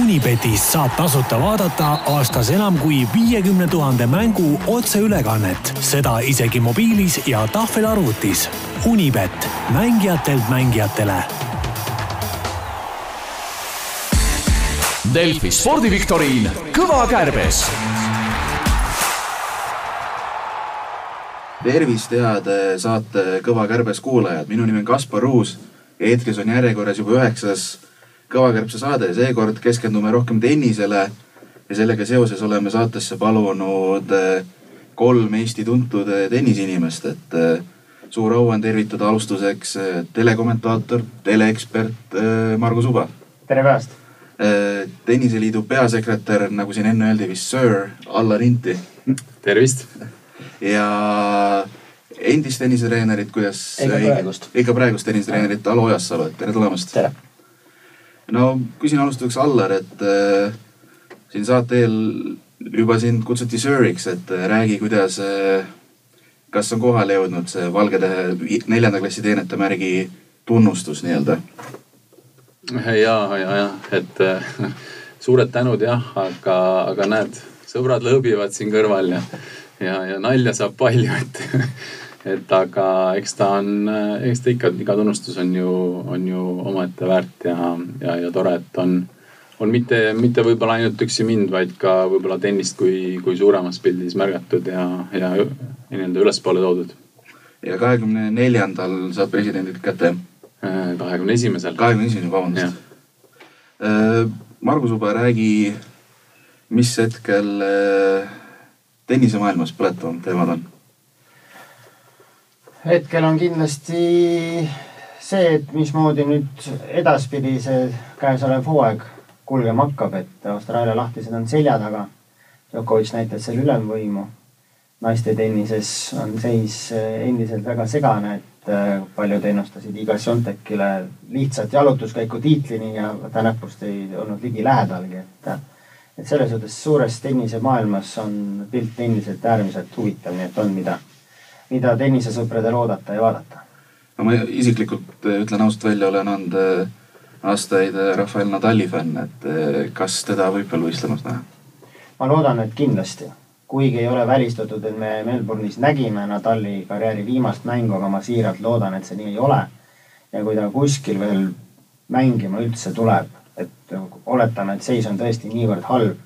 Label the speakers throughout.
Speaker 1: Unibetis saab tasuta vaadata aastas enam kui viiekümne tuhande mängu otseülekannet, seda isegi mobiilis ja tahvelarvutis. Unibet, mängijatelt mängijatele.
Speaker 2: Delfi spordiviktoriin Kõva kärbes .
Speaker 3: tervist , head eh, saate Kõva kärbes kuulajad , minu nimi on Kaspar Ruus ja hetkes on järjekorras juba üheksas Kõva kärbse saade , seekord keskendume rohkem tennisele . ja sellega seoses oleme saatesse palunud eh, kolm Eesti tuntud eh, tenniseinimest , et eh, suur au on tervitada alustuseks eh, telekommentaator , teleekspert eh, Margus Uba .
Speaker 4: tere päevast .
Speaker 3: Eh, tenniseliidu peasekretär , nagu siin enne öeldi , vist Sir Allar Inti . tervist . ja endist tennisetreenerit , kuidas .
Speaker 4: Ega praegust.
Speaker 3: ikka praegust tennisetreenerit Alo Ojassalu , et tere tulemast .
Speaker 4: tere .
Speaker 3: no küsin alustuseks Allar , et äh, siin saate eel juba sind kutsuti Sir'iks , et äh, räägi , kuidas äh, , kas on kohale jõudnud see Valge Tähe vi- neljanda klassi teenete märgi tunnustus nii-öelda ?
Speaker 5: ja , ja , jah , et äh, suured tänud jah , aga , aga näed , sõbrad lõõbivad siin kõrval ja , ja , ja nalja saab palju , et , et aga eks ta on , eks ta ikka , iga tunnustus on ju , on ju omaette väärt ja , ja , ja tore , et on , on mitte , mitte võib-olla ainult üksi mind , vaid ka võib-olla tennist kui , kui suuremas pildis märgatud ja , ja ü- nii-öelda ülespoole toodud
Speaker 3: ja kahekümne neljandal saad presidendilt kätte
Speaker 5: Äh, kahekümne esimesel .
Speaker 3: kahekümne esimene ,
Speaker 5: Jah.
Speaker 3: vabandust . Margus Uba , räägi , mis hetkel äh, tennisemaailmas põletavamad teemad on ?
Speaker 4: hetkel on kindlasti see , et mismoodi nüüd edaspidi see käesolev hooaeg kulgema hakkab , et Austraalia lahtised on selja taga . Djokovic näitab seal ülemvõimu . naiste tennises on seis eh, endiselt väga segane , et eh, paljud ennustasid Iga Šontekile lihtsalt jalutuskäiku tiitlini ja ta näpust ei olnud ligilähedalgi , et eh, et selles suhtes suures tennisemaailmas on pilt endiselt äärmiselt huvitav , nii et on , mida mida tennisesõpradel oodata ja vaadata .
Speaker 3: no ma isiklikult äh, ütlen ausalt välja , olen olnud äh, aastaid äh, Rafael Nadali fänn , et äh, kas teda võib veel võistlemas näha ?
Speaker 4: ma loodan , et kindlasti , kuigi ei ole välistatud , et me Melbourne'is nägime Nadali karjääri viimast mängu , aga ma siiralt loodan , et see nii ei ole . ja kui ta kuskil veel mängima üldse tuleb , et oletame , et seis on tõesti niivõrd halb ,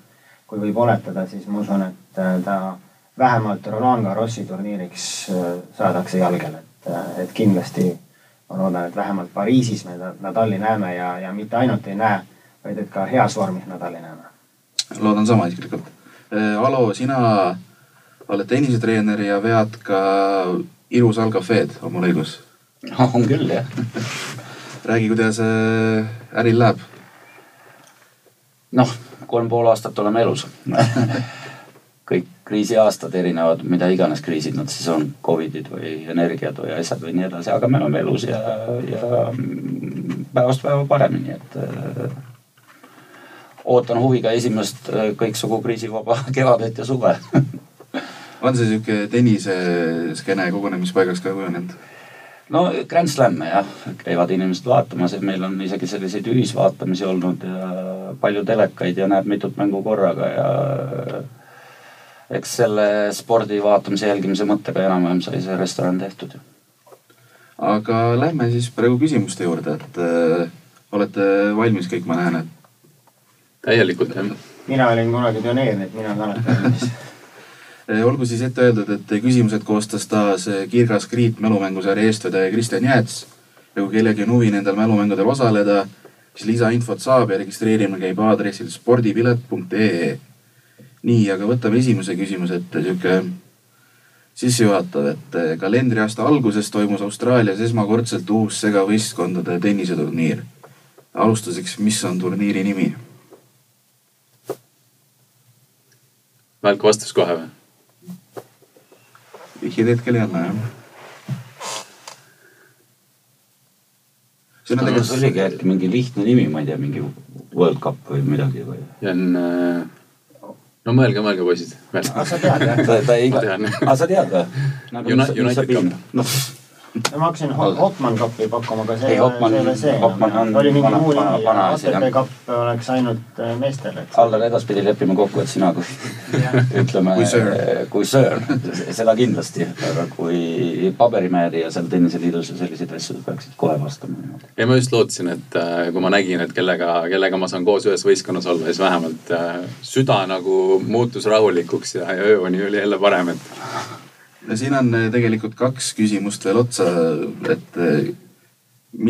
Speaker 4: kui võib oletada , siis ma usun , et äh, ta vähemalt Roland Garrosi turniiriks äh, saadakse jalgele , et , et kindlasti ma loodan , et vähemalt Pariisis me ta- Nadali näeme ja , ja mitte ainult ei näe , vaid et ka heas vormis Nadali näeme .
Speaker 3: loodan sama isiklikult . Alo , sina oled tennisetreener ja vead ka Iru Salgafeed , on mul õigus ?
Speaker 6: on küll jah .
Speaker 3: räägi , kuidas äh, äril läheb ?
Speaker 6: noh , kolm pool aastat oleme elus . kõik kriisiaastad erinevad , mida iganes kriisid nad siis on , Covidid või energiad või asjad või nii edasi , aga me oleme elus ja , ja mm, päevast päeva paremini , et äh, ootan huviga esimest äh, kõiksugu kriisivaba kevadet ja suve
Speaker 3: on see sihuke tenniseskeene kogunemispaigaks ka kujunenud ?
Speaker 6: no Grand Slam'e jah , käivad inimesed vaatamas ja meil on isegi selliseid ühisvaatamisi olnud ja palju telekaid ja näeb mitut mängu korraga ja eks selle spordi vaatamise jälgimise mõttega enam-vähem sai see restoran tehtud .
Speaker 3: aga lähme siis praegu küsimuste juurde , et äh, olete valmis kõik , ma näen , et
Speaker 5: täielikult jah .
Speaker 4: mina olin kunagi pioneer , nii et mina olen alati valmis .
Speaker 3: Eh, olgu siis ette öeldud , et küsimused koostas taas eh, Kirgas Kriit mälumängusarja eestvedaja Kristjan Jääts . ja kui kellelgi on huvi nendel mälumängudel osaleda , siis lisainfot saab ja registreerimine käib aadressil spordipilet.ee . nii , aga võtame esimese küsimuse ette , sihuke sissejuhatav , et eh, kalendriaasta alguses toimus Austraalias esmakordselt uus segavõistkondade tenniseturniir . alustuseks , mis on turniiri nimi ?
Speaker 5: Välku vastus kohe või ?
Speaker 3: vihjeid hetkel ei anna , jah . see on
Speaker 6: kas oligi
Speaker 3: tegelikult ,
Speaker 6: äkki mingi lihtne nimi , ma ei tea , mingi World Cup või midagi või ?
Speaker 5: ja on , no mõelge , mõelge poisid veel .
Speaker 4: sa tead jah ?
Speaker 6: ta , ta ei ,
Speaker 5: Ma tean.
Speaker 6: aa Nagu sa tead või ?
Speaker 5: United Cup.
Speaker 6: noh ,
Speaker 4: ma hakkasin Ho- Hopman Cupi pakkuma , aga see
Speaker 6: Ei,
Speaker 4: ei
Speaker 6: Hopman-
Speaker 4: ole see
Speaker 6: Hopman on
Speaker 4: enam . oli mingi
Speaker 6: vana-
Speaker 4: muu
Speaker 6: vana-
Speaker 4: nimi ,
Speaker 6: vana asi,
Speaker 4: ATP
Speaker 6: jah.
Speaker 4: Cup oleks ainult äh, meestel , et .
Speaker 6: Allar , edaspidi lepime kokku , et sina kui ütleme
Speaker 3: Kui söör.
Speaker 6: kui söör , seda kindlasti , aga kui paberimehed ja seal tenniseliidus ja selliseid asju peaksid kohe vastama .
Speaker 5: ja ma just lootsin , et äh, kui ma nägin , et kellega , kellega ma saan koos ühes võistkonnas olla , siis vähemalt äh, süda nagu muutus rahulikuks ja , ja öö oli , oli jälle parem , et
Speaker 3: no siin on eh, tegelikult kaks küsimust veel otsa , et eh,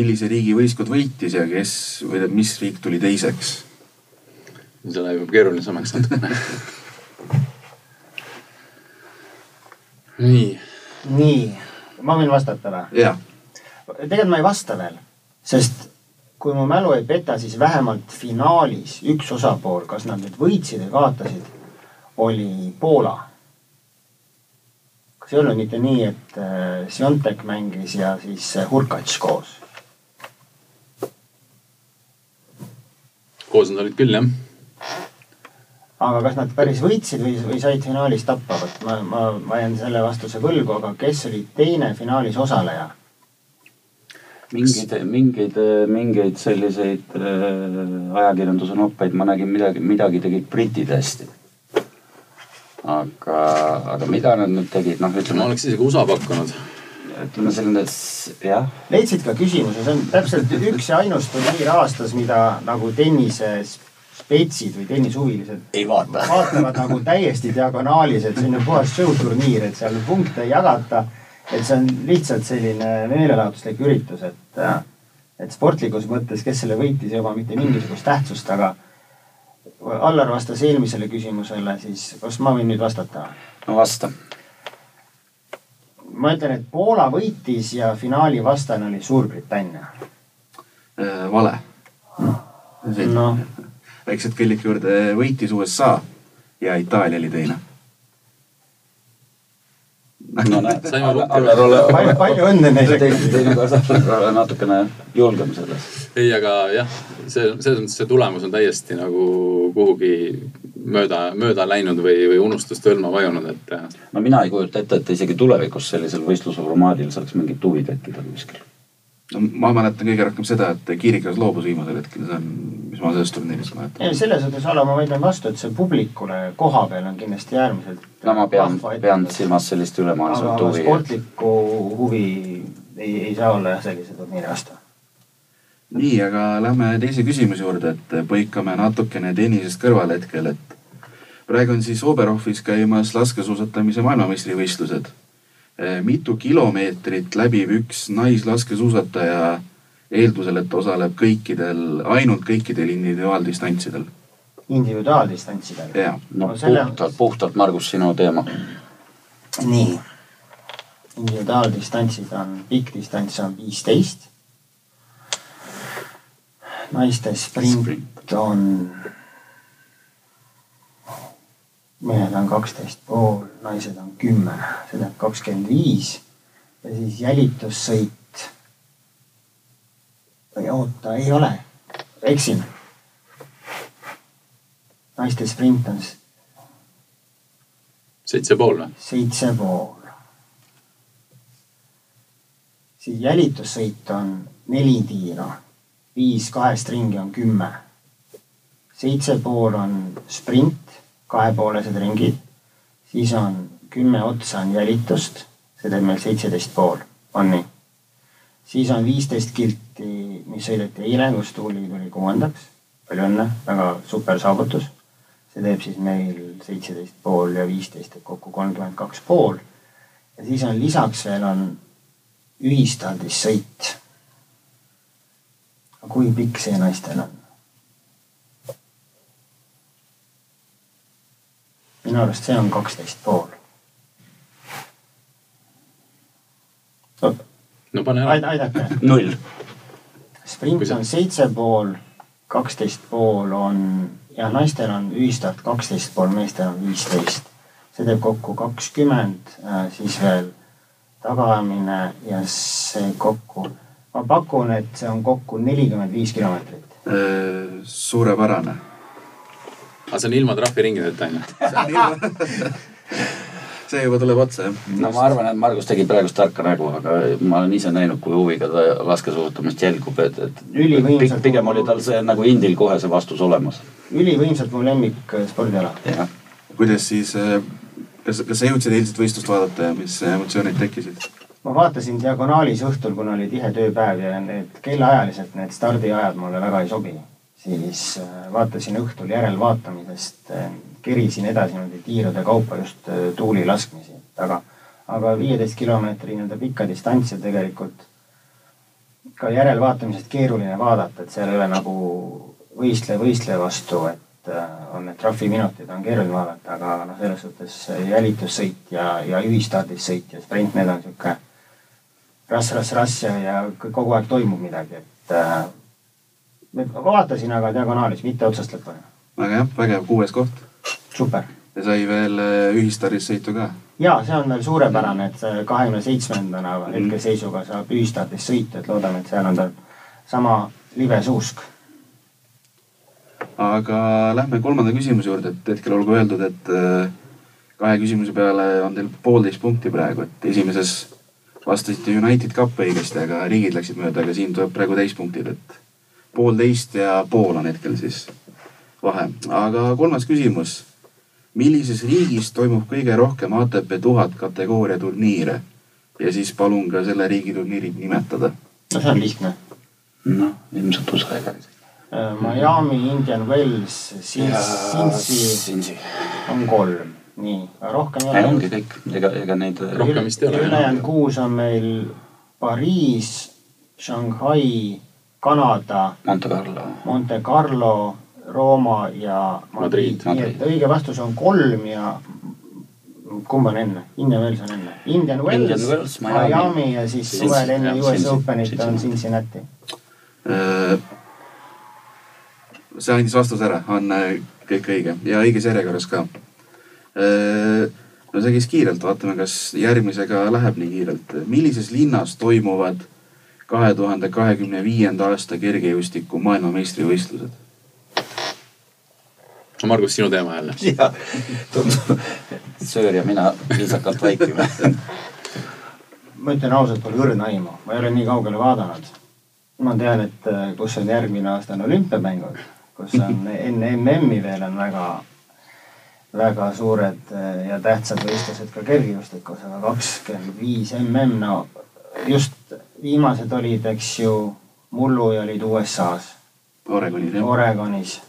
Speaker 3: millise riigi võistkond võitis ja kes või tähendab, mis riik tuli teiseks ?
Speaker 5: see läheb juba keerulisemaks natukene . nii ,
Speaker 4: nii , ma võin vastata või ?
Speaker 3: jaa ,
Speaker 4: tegelikult ma ei vasta veel , sest kui mu mälu ei peta , siis vähemalt finaalis üks osapool , kas nad nüüd võitsid või kaotasid , oli Poola . kas ei olnud mitte nii , et äh, Sviontek mängis ja siis äh, Hurkacz koos ?
Speaker 5: koos nad olid küll jah .
Speaker 4: aga kas nad päris võitsid või , või said finaalis tappa , vot ma , ma , ma jään selle vastuse võlgu , aga kes oli teine finaalis osaleja ?
Speaker 6: mingeid , mingeid , mingeid selliseid äh, ajakirjanduse noppeid ma nägin midagi , midagi tegid britid hästi . aga , aga mida nad nüüd tegid , noh ,
Speaker 5: ma
Speaker 6: ütleme ,
Speaker 5: oleks isegi USA pakkunud .
Speaker 6: ütleme selline s- jah ,
Speaker 4: leidsid ka küsimuse , see on täpselt üks ja ainus turniir aastas , mida nagu tennises spetsid või tennishuvilised
Speaker 6: ei vaata .
Speaker 4: vaatavad nagu täiesti diagonaalis , et see on ju puhas show turniir , et seal punkte ei jagata . et see on lihtsalt selline meelelahutuslik üritus , et , et sportlikus mõttes , kes selle võitis , ei oma mitte mingisugust tähtsust , aga . Allar vastas eelmisele küsimusele , siis kas ma võin nüüd vastata ?
Speaker 6: no vasta .
Speaker 4: ma ütlen , et Poola võitis ja finaali vastane oli Suurbritannia .
Speaker 3: Eh, vale .
Speaker 4: noh ,
Speaker 3: väiksed kõllik juurde , võitis USA ja Itaalia oli teine .
Speaker 6: no näed ,
Speaker 5: Saime lukku.
Speaker 6: Allar , ole
Speaker 4: palju ,, palju õnne neile .
Speaker 6: teinekord Allar , ole natukene julgem selles .
Speaker 5: ei , aga jah , see , selles mõttes see tulemus on täiesti nagu kuhugi mööda , mööda läinud või , või unustuste hõlma vajunud , et äh,
Speaker 6: no mina ei kujuta ette , et isegi tulevikus sellisel võistlusformaadil saaks mingit huvi tekkida kuskil .
Speaker 3: no ma mäletan kõige rohkem seda , et Kiirikas loobus viimasel hetkel , see on , mis ma sellest turniirist mäletan .
Speaker 4: ei , selles suhtes , Alo , ma vaidlen vastu , et see publikule koha peal on kindlasti äärmiselt .
Speaker 6: no ma pean , pean silmas sellist
Speaker 4: aga
Speaker 6: ülemaailmset
Speaker 4: aga
Speaker 6: huvi .
Speaker 4: sportlikku huvi ei , ei saa olla jah , sellise turniiri aasta .
Speaker 3: nii , aga lähme teise küsimuse juurde , et põikame natukene tennisest kõrvale hetkel , et praegu on siis Oberhofis käimas laskesuusatamise maailmameistrivõistlused . mitu kilomeetrit läbib üks naislaskesuusataja eeldusel , et ta osaleb kõikidel , ainult kõikidel individuaaldistantsidel ?
Speaker 4: individuaaldistantsidega .
Speaker 3: jaa ,
Speaker 6: no
Speaker 4: No selle-
Speaker 6: puhtalt , puhtalt , Margus , sinu teema .
Speaker 4: nii . individuaaldistantsid on , pikk distants on viisteist . naiste sprint on . mehed on kaksteist pool , naised on kümme , see teeb kakskümmend viis ja siis jälitussõit . või oota , ei ole , eksin . naiste sprint on s-
Speaker 5: seitse pool või ?
Speaker 4: seitse pool . siis jälitussõit on neli tiiru , viis kahest ringi on kümme . seitse pool on sprint , kahepoolesed ringid , siis on kümme otsa on jälitust , see teeb meil seitseteist pool , on nii ? siis on viisteist kilti , mis sõideti eile , kus Tuuli tuli kuuendaks , palju õnne , väga super saavutus see teeb siis meil seitseteist pool ja viisteist , et kokku kolmkümmend kaks pool . ja siis on lisaks veel on ühistaldissõit . kui pikk see naistel on ? minu arust see on kaksteist pool .
Speaker 5: no pane ära .
Speaker 4: aidake ,
Speaker 6: null .
Speaker 5: Kui
Speaker 4: sprint
Speaker 5: sa-
Speaker 4: on seitse pool , kaksteist pool on , jah , naistel on ühistart kaksteist pool , meestel on viisteist . see teeb kokku kakskümmend , siis veel tagaajamine ja see kokku , ma pakun , et see on kokku nelikümmend viis kilomeetrit .
Speaker 3: Eh, suurepärane .
Speaker 5: aga see on ilma trahviringideta on ju ?
Speaker 3: see juba tuleb otsa jah .
Speaker 6: no ma arvan , et Margus tegi praegust tarka nägu , aga ma olen ise näinud , kui huviga ta laskesuusatamist jälgub , et , et
Speaker 4: Ülivõimsalt
Speaker 6: pig- pigem oli tal see nagu Indil kohe see vastus olemas .
Speaker 4: ülivõimsalt mu lemmik äh, spordiala .
Speaker 6: jah ,
Speaker 3: kuidas siis , kas , kas sa jõudsid eilset võistlust vaadata ja mis emotsioonid tekkisid ?
Speaker 4: ma vaatasin diagonaalis õhtul , kuna oli tihe tööpäev ja need kellaajaliselt need stardiajad mulle väga ei sobi . siis äh, vaatasin õhtul järelvaatamisest , kerisin edasi niimoodi tiirude kaupa just äh, tuuli laskmisi taga . aga viieteist kilomeetri nii-öelda pikka distantsi on tegelikult ka järelvaatamisest keeruline vaadata , et seal ei ole nagu võistleja võistleja vastu , et äh, on need trahviminutid on keeruline vaadata , aga noh , selles suhtes jälitussõit ja , ja ühistardis sõit ja sprint , need on sihuke rass-rass-rass ja , ja k- kogu aeg toimub midagi , et äh, ma vaatasin aga diagonaalis , mitte otsast lõpuni .
Speaker 3: väga jah , vägev kuues koht
Speaker 4: super .
Speaker 3: ja sai veel äh, ühistaris sõitu ka .
Speaker 4: ja see on veel suurepärane , et kahekümne seitsmendana
Speaker 5: Mhm.
Speaker 4: hetkeseisuga saab ühistardis sõita , et loodame , et seal on tal sama libe suusk
Speaker 3: aga lähme kolmanda küsimuse juurde , et hetkel olgu öeldud , et äh, kahe küsimuse peale on teil poolteist punkti praegu , et esimeses vastasite United Cup õigesti , aga riigid läksid mööda , aga siin tuleb praegu täispunktid , et poolteist ja pool on hetkel siis vahe . aga kolmas küsimus . millises riigis toimub kõige rohkem ATP tuhat kategooria turniire ? ja siis palun ka selle riigi turniirid nimetada .
Speaker 4: no see on lihtne .
Speaker 6: noh , ilmselt USA ega .
Speaker 4: Miami ,
Speaker 5: Mhm.
Speaker 4: Indian Wells , siis Cincy
Speaker 6: Sinsi .
Speaker 4: on kolm , nii , rohkem ei
Speaker 6: ei ongi
Speaker 4: ole .
Speaker 6: kõik , ega , ega neid .
Speaker 5: Äh, Rohkem vist ei ole, jah.
Speaker 4: ülejäänud kuus on meil Pariis , Shanghai , Kanada ,
Speaker 6: Monte Carlo .
Speaker 4: Monte Carlo , Rooma ja Madrid,
Speaker 5: Madrid,
Speaker 4: Madrid. , nii et õige vastus on kolm ja kumb on enne , Indian Wells on enne . Indian
Speaker 6: Indian
Speaker 4: Wells
Speaker 6: Wells, ,
Speaker 4: Miami,
Speaker 6: Miami.
Speaker 4: Miami ja siis
Speaker 6: Cincy-
Speaker 4: suvel enne
Speaker 6: jah,
Speaker 4: US
Speaker 6: Cincy-
Speaker 4: Openit on
Speaker 6: Cincinnati.
Speaker 4: Cincinnati .
Speaker 3: Äh, see andis vastuse ära , on äh, kõik õige ja õiges järjekorras ka . no see käis kiirelt , vaatame , kas järgmisega läheb nii kiirelt . millises linnas toimuvad kahe tuhande kahekümne viienda aasta kergejõustiku maailmameistrivõistlused ?
Speaker 5: Margus , sinu teema jälle .
Speaker 6: jah , tundub , et söör ja mina viisakalt vaikime .
Speaker 4: ma ütlen ausalt , mul ei õrna aimu , ma ei ole nii kaugele vaadanud . ma tean , et äh, kus on järgmine aasta on olümpiamängud , kus on enne MM-i veel on väga , väga suured äh, ja tähtsad võistlused ka kergejõustikus , aga kakskümmend viis MM , no just viimased olid , eks ju , mullu ja olid USA-s ,
Speaker 3: Oregonis jah ?
Speaker 4: Oregonis .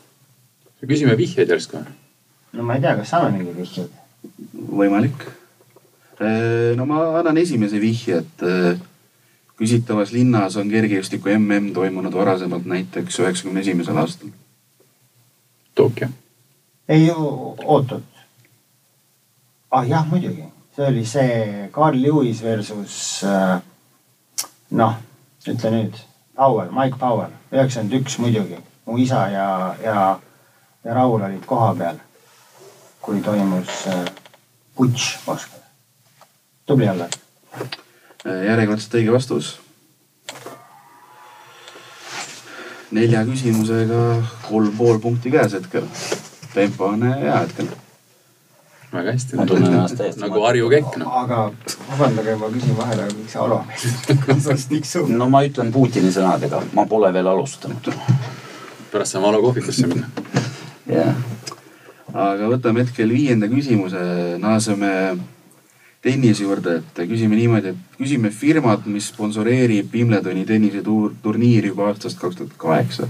Speaker 5: küsime vihjeid järsku .
Speaker 4: no ma ei tea , kas saame mingeid vihjeid ?
Speaker 3: võimalik . no ma annan esimese vihje , et eh, küsitavas linnas on kergejõustiku mm toimunud varasemalt näiteks üheksakümne esimesel aastal .
Speaker 5: Tokyo .
Speaker 4: ei , oot-oot . ah jah , muidugi , see oli see Carl Lewis versus äh, noh , ütle nüüd , Powell , Mike Powell , üheksakümmend üks muidugi . mu isa ja , ja , ja Raul olid kohapeal , kui toimus äh, putš Moskvas . tubli olla .
Speaker 3: Äh, järjekordselt õige vastus . nelja küsimusega kolm pool punkti käes hetkel . tempo on äh, hea hetkel .
Speaker 5: väga hästi
Speaker 6: ma . tunnen ennast täiesti .
Speaker 5: nagu Harju kekk , noh .
Speaker 4: aga vabandage , ma küsin vahele , miks sa Alo meelest kaasas tiksud ?
Speaker 6: no ma ütlen Putini sõnadega , ma pole veel alustanud .
Speaker 5: pärast saame Alo kohvikusse minna .
Speaker 6: jah ,
Speaker 3: aga võtame hetkel viienda küsimuse , naaseme tennise juurde , et küsime niimoodi , et küsime firmat , mis sponsoreerib Wimbledoni tennisetuur , turniiri juba aastast kaks tuhat kaheksa .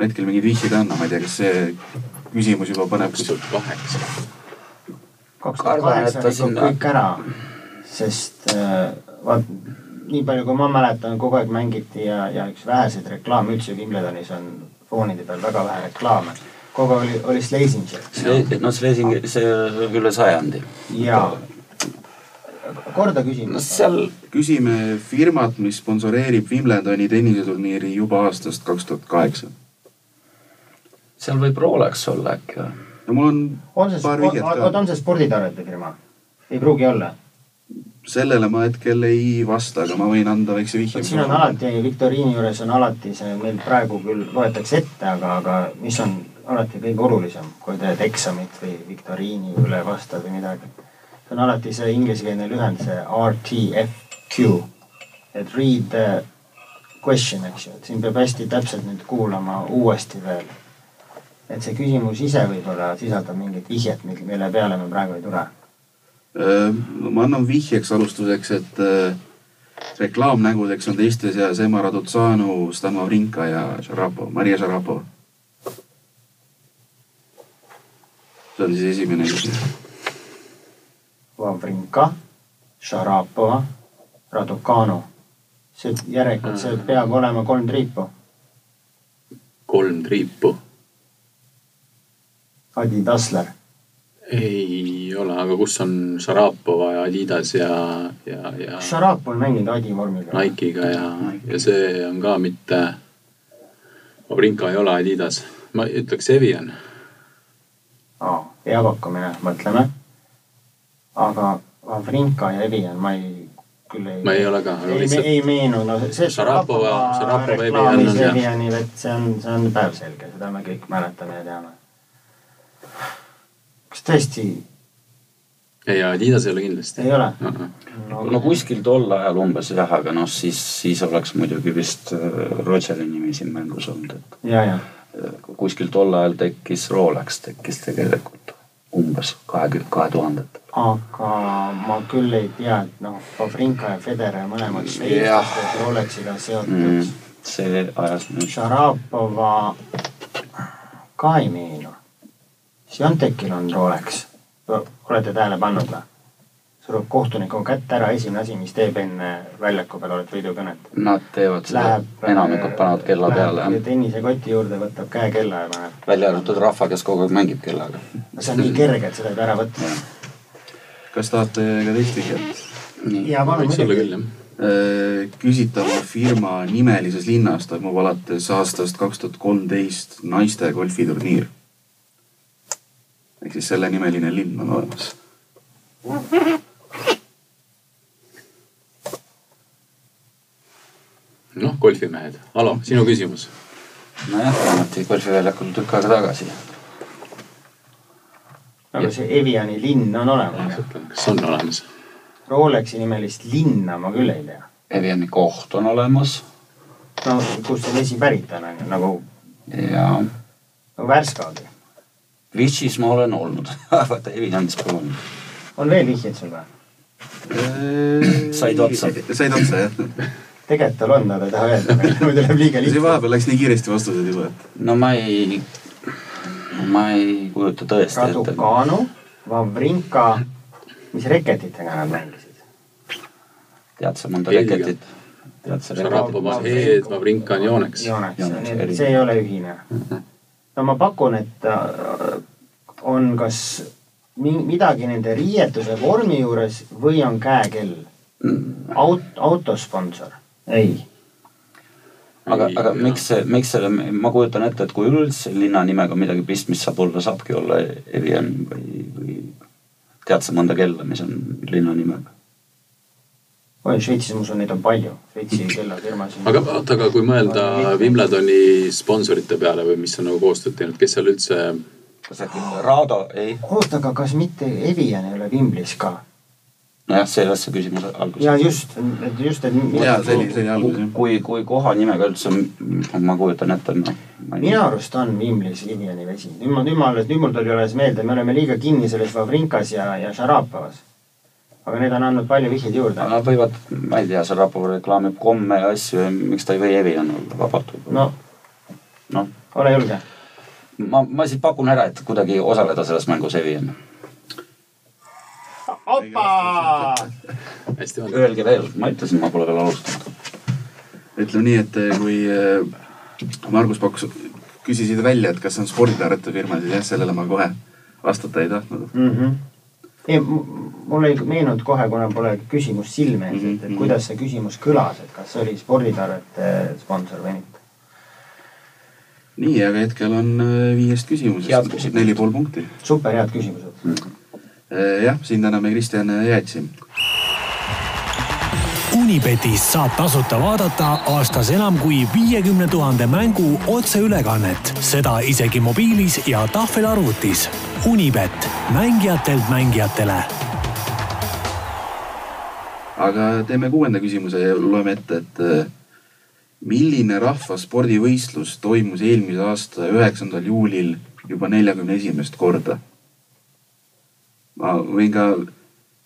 Speaker 3: ma hetkel mingeid vihjeid ei anna , ma ei tea , kas see küsimus juba paneb
Speaker 5: kaks tuhat kaheksa .
Speaker 4: kaks tuhat
Speaker 6: Kardan, et
Speaker 4: kaheksa
Speaker 6: ta
Speaker 4: rikub
Speaker 6: sinna-
Speaker 4: kõik ära , sest äh, vaat nii palju , kui ma mäletan , kogu aeg mängiti ja , ja üks väheseid reklaame üldse Wimbledonis on foonide peal väga vähe reklaame . kogu aeg oli , oli Slesinger
Speaker 6: no Slesing , noh, see üle sajandi .
Speaker 4: ja korda
Speaker 6: no
Speaker 4: küsimus .
Speaker 6: seal
Speaker 3: küsime firmat , mis sponsoreerib Wimbledoni tenniseturniiri juba aastast kaks tuhat kaheksa .
Speaker 6: seal võib Rolex olla äkki või ?
Speaker 3: no mul on
Speaker 4: on see ,
Speaker 3: paar vihjet
Speaker 4: oot ,
Speaker 3: ka .
Speaker 4: on see sporditarvete firma ? ei pruugi olla .
Speaker 3: sellele ma hetkel ei vasta , aga ma võin anda väikse vihje .
Speaker 4: siin on alati , viktoriini juures on alati see , meil praegu küll loetakse ette , aga , aga mis on alati kõige olulisem , kui teed eksamit või viktoriini üle vastad või midagi . see on alati see inglisekeelne lühend , see RTFQ . et read the question , eks ju , et siin peab hästi täpselt nüüd kuulama uuesti veel . et see küsimus ise võib-olla sisaldab mingit vihjet , mille peale me praegu ei tule .
Speaker 3: Äh, ma annan vihjeks alustuseks , et äh, reklaamnägudeks on teiste seas Emma Raducanu , Stan Wawrinka ja Šarapo , Maria Šarapo . see on siis esimene küsimus .
Speaker 4: Vavrinka , Šarapova , Raducanu . see järelikult , see
Speaker 5: Mm.
Speaker 4: peab olema kolm triipu .
Speaker 5: kolm triipu .
Speaker 4: Adi Tassler ,
Speaker 5: ei ole , aga kus on Šarapova ja Adidas ja , ja , ja
Speaker 4: Šarapov on mänginud Adi vormiga .
Speaker 5: Nike'iga ja , ja see on ka mitte . Obrinka ei ole Adidas , ma ütleks Evian .
Speaker 4: peab hakkama jah , mõtleme . aga Vavrinka ja Evian , ma ei , küll ei .
Speaker 5: ma ei ole ka , aga
Speaker 4: ei, me-
Speaker 5: lihtsalt
Speaker 4: ei meenu , no see
Speaker 5: Šarapova- Šarapova Evian
Speaker 4: reklaamis
Speaker 5: on, jah.
Speaker 4: Evianil , et see on , see on päevselge , seda me kõik mäletame ja teame . kas tõesti
Speaker 5: ei , Adidas ei ole kindlasti .
Speaker 4: ei ole ?
Speaker 6: no kuskil tol ajal umbes jah , aga noh , siis , siis oleks muidugi vist äh, Rodgeri nimi siin mängus olnud , et
Speaker 4: ja , ja
Speaker 6: äh, kuskil tol ajal tekkis Rolex tekkis tegelikult umbes kahekümne , kahe tuhandetel .
Speaker 4: aga ma küll ei tea , et noh , Pavrinka ja Federer mõlemad
Speaker 6: Jah.
Speaker 4: šveitslased Rolexiga seotud
Speaker 6: Mm,
Speaker 4: mm. .
Speaker 6: see ajas nüüd ,
Speaker 4: Šarapova ka ei meenu . Siontekil on Rolex , olete tähele pannud või ? surub kohtuniku kätt ära , esimene asi , mis teeb enne väljaku peal olet võidukõnet . äh,
Speaker 6: nad teevad seda , enamikud panevad kella peale ,
Speaker 4: tennisekoti juurde , võtab käekella ja paneb .
Speaker 6: välja arvatud rahva , kes kogu aeg mängib kellaga .
Speaker 4: no see on nii kerge , et seda ei pea ära võtma .
Speaker 3: kas tahate ka teist vihjet ?
Speaker 6: nii ,
Speaker 4: ja palun
Speaker 5: võiks olla
Speaker 4: muidugi .
Speaker 5: küll jah .
Speaker 3: küsitava firma nimelises linnas toimub alates aastast kaks tuhat kolmteist naiste golfiturniir . ehk siis sellenimeline linn on olemas .
Speaker 5: noh , golfimehed , Alo , sinu küsimus .
Speaker 6: nojah , ometi golfiväljakul tükk aega tagasi .
Speaker 4: aga see Eviani linn on olemas .
Speaker 5: kas on olemas ?
Speaker 4: Rolexi nimelist linna ma küll ei tea .
Speaker 6: Eviani koht on olemas
Speaker 4: no kust see vesi pärit on , on ju , nagu
Speaker 6: ja
Speaker 4: nagu Värskagi .
Speaker 6: Vichy's ma olen olnud , vaata Evianis pole olnud .
Speaker 4: on veel vihjeid sul või ?
Speaker 6: Said otsa.
Speaker 3: said otsa jah .
Speaker 4: tegelikult tal on , nad ei taha öelda , muidu läheb liiga
Speaker 3: siin
Speaker 4: lihtsalt .
Speaker 3: vahepeal läks nii kiiresti vastused juba , et
Speaker 6: no ma ei , ma ei kujuta tõesti ette .
Speaker 4: Raducanu , Vavrinka , mis reketitega nad mängisid ?
Speaker 6: tead sa mõnda
Speaker 5: Helge.
Speaker 6: reketit ? tead sa reketit ?
Speaker 5: Šarapova head , Vavrinka on jooneks .
Speaker 4: jooneks ,
Speaker 6: Jooneks,
Speaker 4: nii et
Speaker 6: eri-
Speaker 4: see ei ole ühine . no ma pakun , et äh, on kas mi- midagi nende riietuse vormi juures või on käekell .
Speaker 6: Mm.
Speaker 4: Aut- , autosponsor . ei ,
Speaker 6: aga , aga miks see , miks selle , ma kujutan ette , et kui üldse linna nimega midagi pistmist saab olla , saabki olla Evian või , või tead sa mõnda kella , mis on linna nimega ?
Speaker 4: oi Šveitsis ma usun , neid on palju , Šveitsi
Speaker 3: Mm.
Speaker 4: kellafirmasid .
Speaker 5: aga oota , aga kui mõelda Wimbledoni sponsorite peale või mis on nagu koostööd teinud , kes seal üldse ,
Speaker 6: kas äkki Rado , ei ,
Speaker 4: oota , aga kas mitte Evian ei ole Vimblis ka ?
Speaker 6: nojah , selles see küsimus alguses .
Speaker 4: ja just , et just , et mi-
Speaker 3: Jaa, see oli- see oli algus, jah.
Speaker 6: kui , kui koha nimega üldse , ma kujutan ette , noh .
Speaker 4: minu arust on Wimblis Eviani vesi . nüüd ma , nüüd ma alles , nüüd mul tuli alles meelde , me oleme liiga kinni selles Vavrinkas ja , ja Šarapovas . aga need on andnud palju vihjeid juurde .
Speaker 6: Nad võivad , ma ei tea , see Rapov reklaamib komme ja asju , miks ta ei või Evian olla vabalt võib-olla .
Speaker 4: no
Speaker 6: noh ,
Speaker 4: ole julge .
Speaker 6: ma , ma siis pakun ära , et kuidagi osaleda selles mängus Evian .
Speaker 4: opa ,
Speaker 5: hästi on .
Speaker 6: Öelge veel , ma ütlesin , ma pole veel alustanud .
Speaker 3: ütleme nii , et eh, kui äh, Margus pakkus , küsisid välja , et kas on sporditarvete firma , siis jah , sellele ma kohe vastata ei tahtnud .
Speaker 4: Mhm. ei , mul ei meenunud kohe , kuna pole küsimus silme ees , et ,
Speaker 3: Mhm,
Speaker 4: et kuidas see küsimus kõlas , et kas see oli sporditarvete sponsor või mitte .
Speaker 3: nii , aga hetkel on äh, viiest
Speaker 6: Head
Speaker 3: küsimusest
Speaker 6: küsimused.
Speaker 3: neli pool punkti .
Speaker 4: super head küsimused .
Speaker 3: jah , siin täname Kristjan eh, Jäätsi .
Speaker 1: Unibetis saab tasuta vaadata aastas enam kui viiekümne tuhande mängu otseülekannet , seda isegi mobiilis ja tahvelarvutis . Unibet , mängijatelt mängijatele
Speaker 3: aga teeme kuuenda küsimuse ja loeme ette, et äh, milline rahvaspordivõistlus toimus eelmise aasta üheksandal juulil juba neljakümne esimest korda? ma võin ka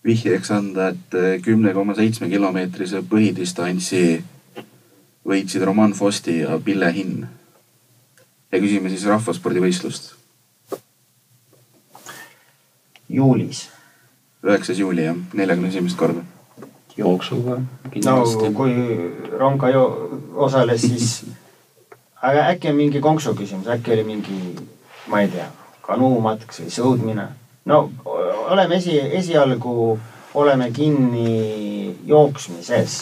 Speaker 3: vihjeks anda, et eh, kümne koma seitsme kilomeetrise põhidistantsi võitsid Roman Fosti ja Pille Hinn. ja küsime siis rahvaspordivõistlust.
Speaker 4: juulis .
Speaker 3: üheksas juuli jah, neljakümne esimest korda.
Speaker 6: jooksuga
Speaker 4: no
Speaker 6: kindlasti no, .
Speaker 4: kui Ronka jo- osales , siis , aga äkki on mingi konksu küsimus , äkki oli mingi , ma ei tea , kanuumatks või sõudmine . no o- oleme esi , esialgu oleme kinni jooksmises .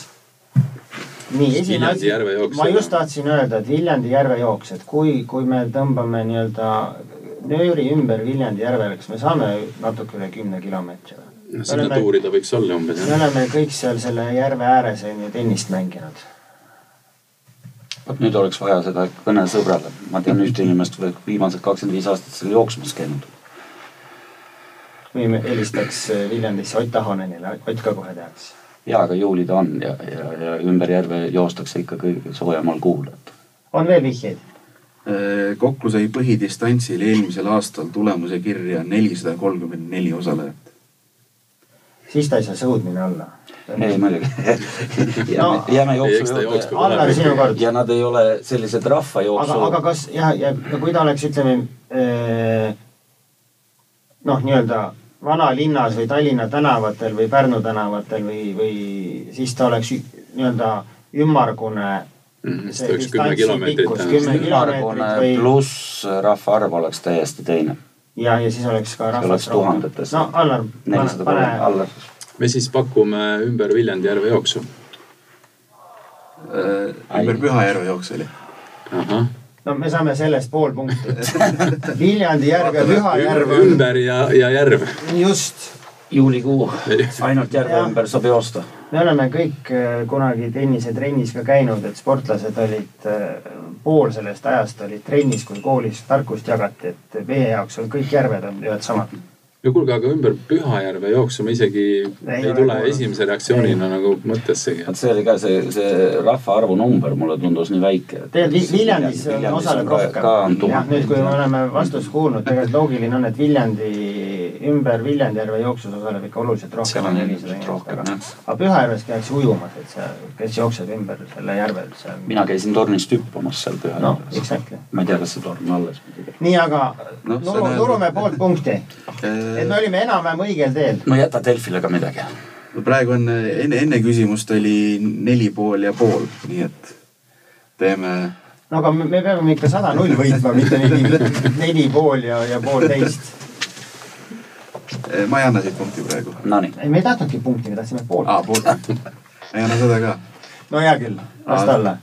Speaker 4: nii , esimene
Speaker 5: Viljandi
Speaker 4: asi
Speaker 5: järve jooks, ,
Speaker 4: ma
Speaker 5: jah.
Speaker 4: just tahtsin öelda , et Viljandi järve jooks , et kui , kui me tõmbame nii-öelda nööri ümber Viljandi järvele , kas me saame natuke üle kümne kilomeetri või ?
Speaker 5: no Noh, sinna tuuri ta võiks olla umbes
Speaker 4: me
Speaker 5: jah .
Speaker 4: oleme kõik seal selle järve ääres on ju tennist mänginud .
Speaker 6: vot nüüd oleks vaja seda kõne sõbrale , ma tean ühte inimest , viimased kakskümmend viis aastat seal jooksmas käinud .
Speaker 4: või me helistaks eh, Viljandisse Ott Ahonenile , Ott ka kohe teaks .
Speaker 6: ja , aga juuli ta on ja , ja , ja ümber järve joostakse ikka kõige soojemal kuul , et
Speaker 4: on veel vihjeid ?
Speaker 3: kokku sai Äh, põhidistantsil eelmisel aastal tulemuse kirja nelisada kolmkümmend neli osalejat .
Speaker 4: siis ta ei saa sõudmine olla .
Speaker 6: ei muidugi jääme
Speaker 4: No. ,
Speaker 6: jääme
Speaker 5: Ei, eks ta
Speaker 6: jooksu
Speaker 5: jooksku
Speaker 6: juurde .
Speaker 4: Allar , sinu kord .
Speaker 6: ja nad ei ole sellised
Speaker 4: aga ,
Speaker 6: rahvajooksu .
Speaker 4: aga kas jah , ja no kui ta oleks , ütleme eh, noh , nii-öelda vanalinnas või Tallinna tänavatel või Pärnu tänavatel või , või siis ta oleks ü- nii-öelda ümmargune .
Speaker 5: Mm, siis ta oleks kümme kilomeetrit
Speaker 4: kümme
Speaker 5: tänavast .
Speaker 6: ümmargune
Speaker 4: kilomeetrit või
Speaker 6: pluss
Speaker 4: äh,
Speaker 6: rahvaarv oleks täiesti teine .
Speaker 4: ja , ja siis oleks ka rahvas .
Speaker 6: oleks tuhandetes.
Speaker 4: no Allar ,
Speaker 6: nelisada
Speaker 4: pane
Speaker 6: kolmkümmend , alla .
Speaker 5: me siis pakume ümber Viljandi järve jooksu .
Speaker 3: Äh, ümber Pühajärve jooks oli .
Speaker 5: ahah ,
Speaker 4: no me saame sellest pool punkti . Viljandi järv ja Pühajärv on
Speaker 5: ümber ja , ja järv .
Speaker 4: just ,
Speaker 6: juulikuu , ainult järve
Speaker 4: Jah.
Speaker 6: ümber saab joosta .
Speaker 4: me oleme kõik eh, kunagi tennisetrennis ka käinud , et sportlased olid , pool sellest ajast olid trennis , kui koolis tarkust jagati , et meie jaoks on kõik järved on ühed samad .
Speaker 5: no kuulge , aga ümber Pühajärve jooksu ma isegi ei, ei
Speaker 4: ole
Speaker 5: tule
Speaker 4: kuulnud.
Speaker 5: esimese reaktsioonina nagu mõttessegi .
Speaker 6: vot see oli ka see , see rahvaarvu number mulle tundus nii väike .
Speaker 4: tegelikult Vi- Viljandis on osaleb rohkem . jah , nüüd kui me oleme vastust kuulnud , tegelikult loogiline on , et Viljandi , ümber Viljandijärve jooksus osaleb ikka oluliselt rohkem .
Speaker 6: seal on ilmselt rohkem jah .
Speaker 4: aga Pühajärves käiakse ujumas , et sa , kes jookseb ümber selle järve , see on .
Speaker 6: mina käisin tornis hüppamas seal pühal
Speaker 4: noh ,
Speaker 6: no, .
Speaker 4: exactly .
Speaker 6: ma ei tea , kas see torn on alles .
Speaker 4: nii , aga
Speaker 3: Noh, see
Speaker 4: Nuru ,
Speaker 3: näeb-
Speaker 4: Nurumäe poolt punkti , et me olime enam-vähem õigel teel .
Speaker 6: no jäta Delfile ka midagi .
Speaker 3: praegu on eh, enne , enne küsimust oli neli pool ja pool , nii et teeme
Speaker 4: no aga me, me peame ikka sada null võitma , mitte neli , neli pool ja , ja poolteist .
Speaker 3: Eh, ma ei anna siit punkti praegu .
Speaker 6: Nonii ,
Speaker 4: ei , me ei tahtnudki punkti , me tahtsime poolt
Speaker 6: Ah.
Speaker 3: aa , pool . ma ei anna seda ka .
Speaker 4: no hea küll , las ta olla .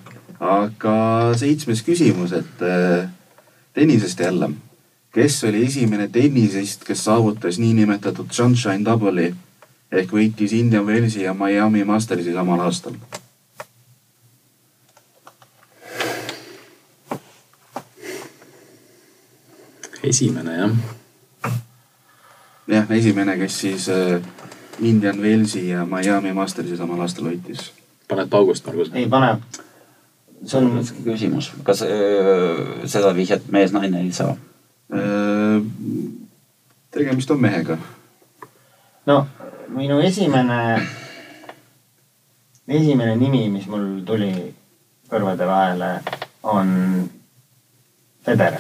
Speaker 3: aga seitsmes küsimus , et eh, tennisest jälle . kes oli esimene tennisist , kes saavutas niinimetatud sunshine double'i ehk võitis Indian Wellsi ja Miami Mastersi samal aastal ?
Speaker 5: esimene jah .
Speaker 3: jah , esimene , kes siis eh, Indian Wellsi ja Miami Mastersi samal aastal võitis .
Speaker 5: paned paugust , nagu. Margus ?
Speaker 4: ei pane . see
Speaker 6: see on
Speaker 4: on ,
Speaker 6: raske küsimus . kas öö, seda vihjet mees-naine ei saa ?
Speaker 3: Eh, tegemist on mehega .
Speaker 4: no minu esimene , esimene nimi , mis mul tuli kõrvade vahele , on Federer .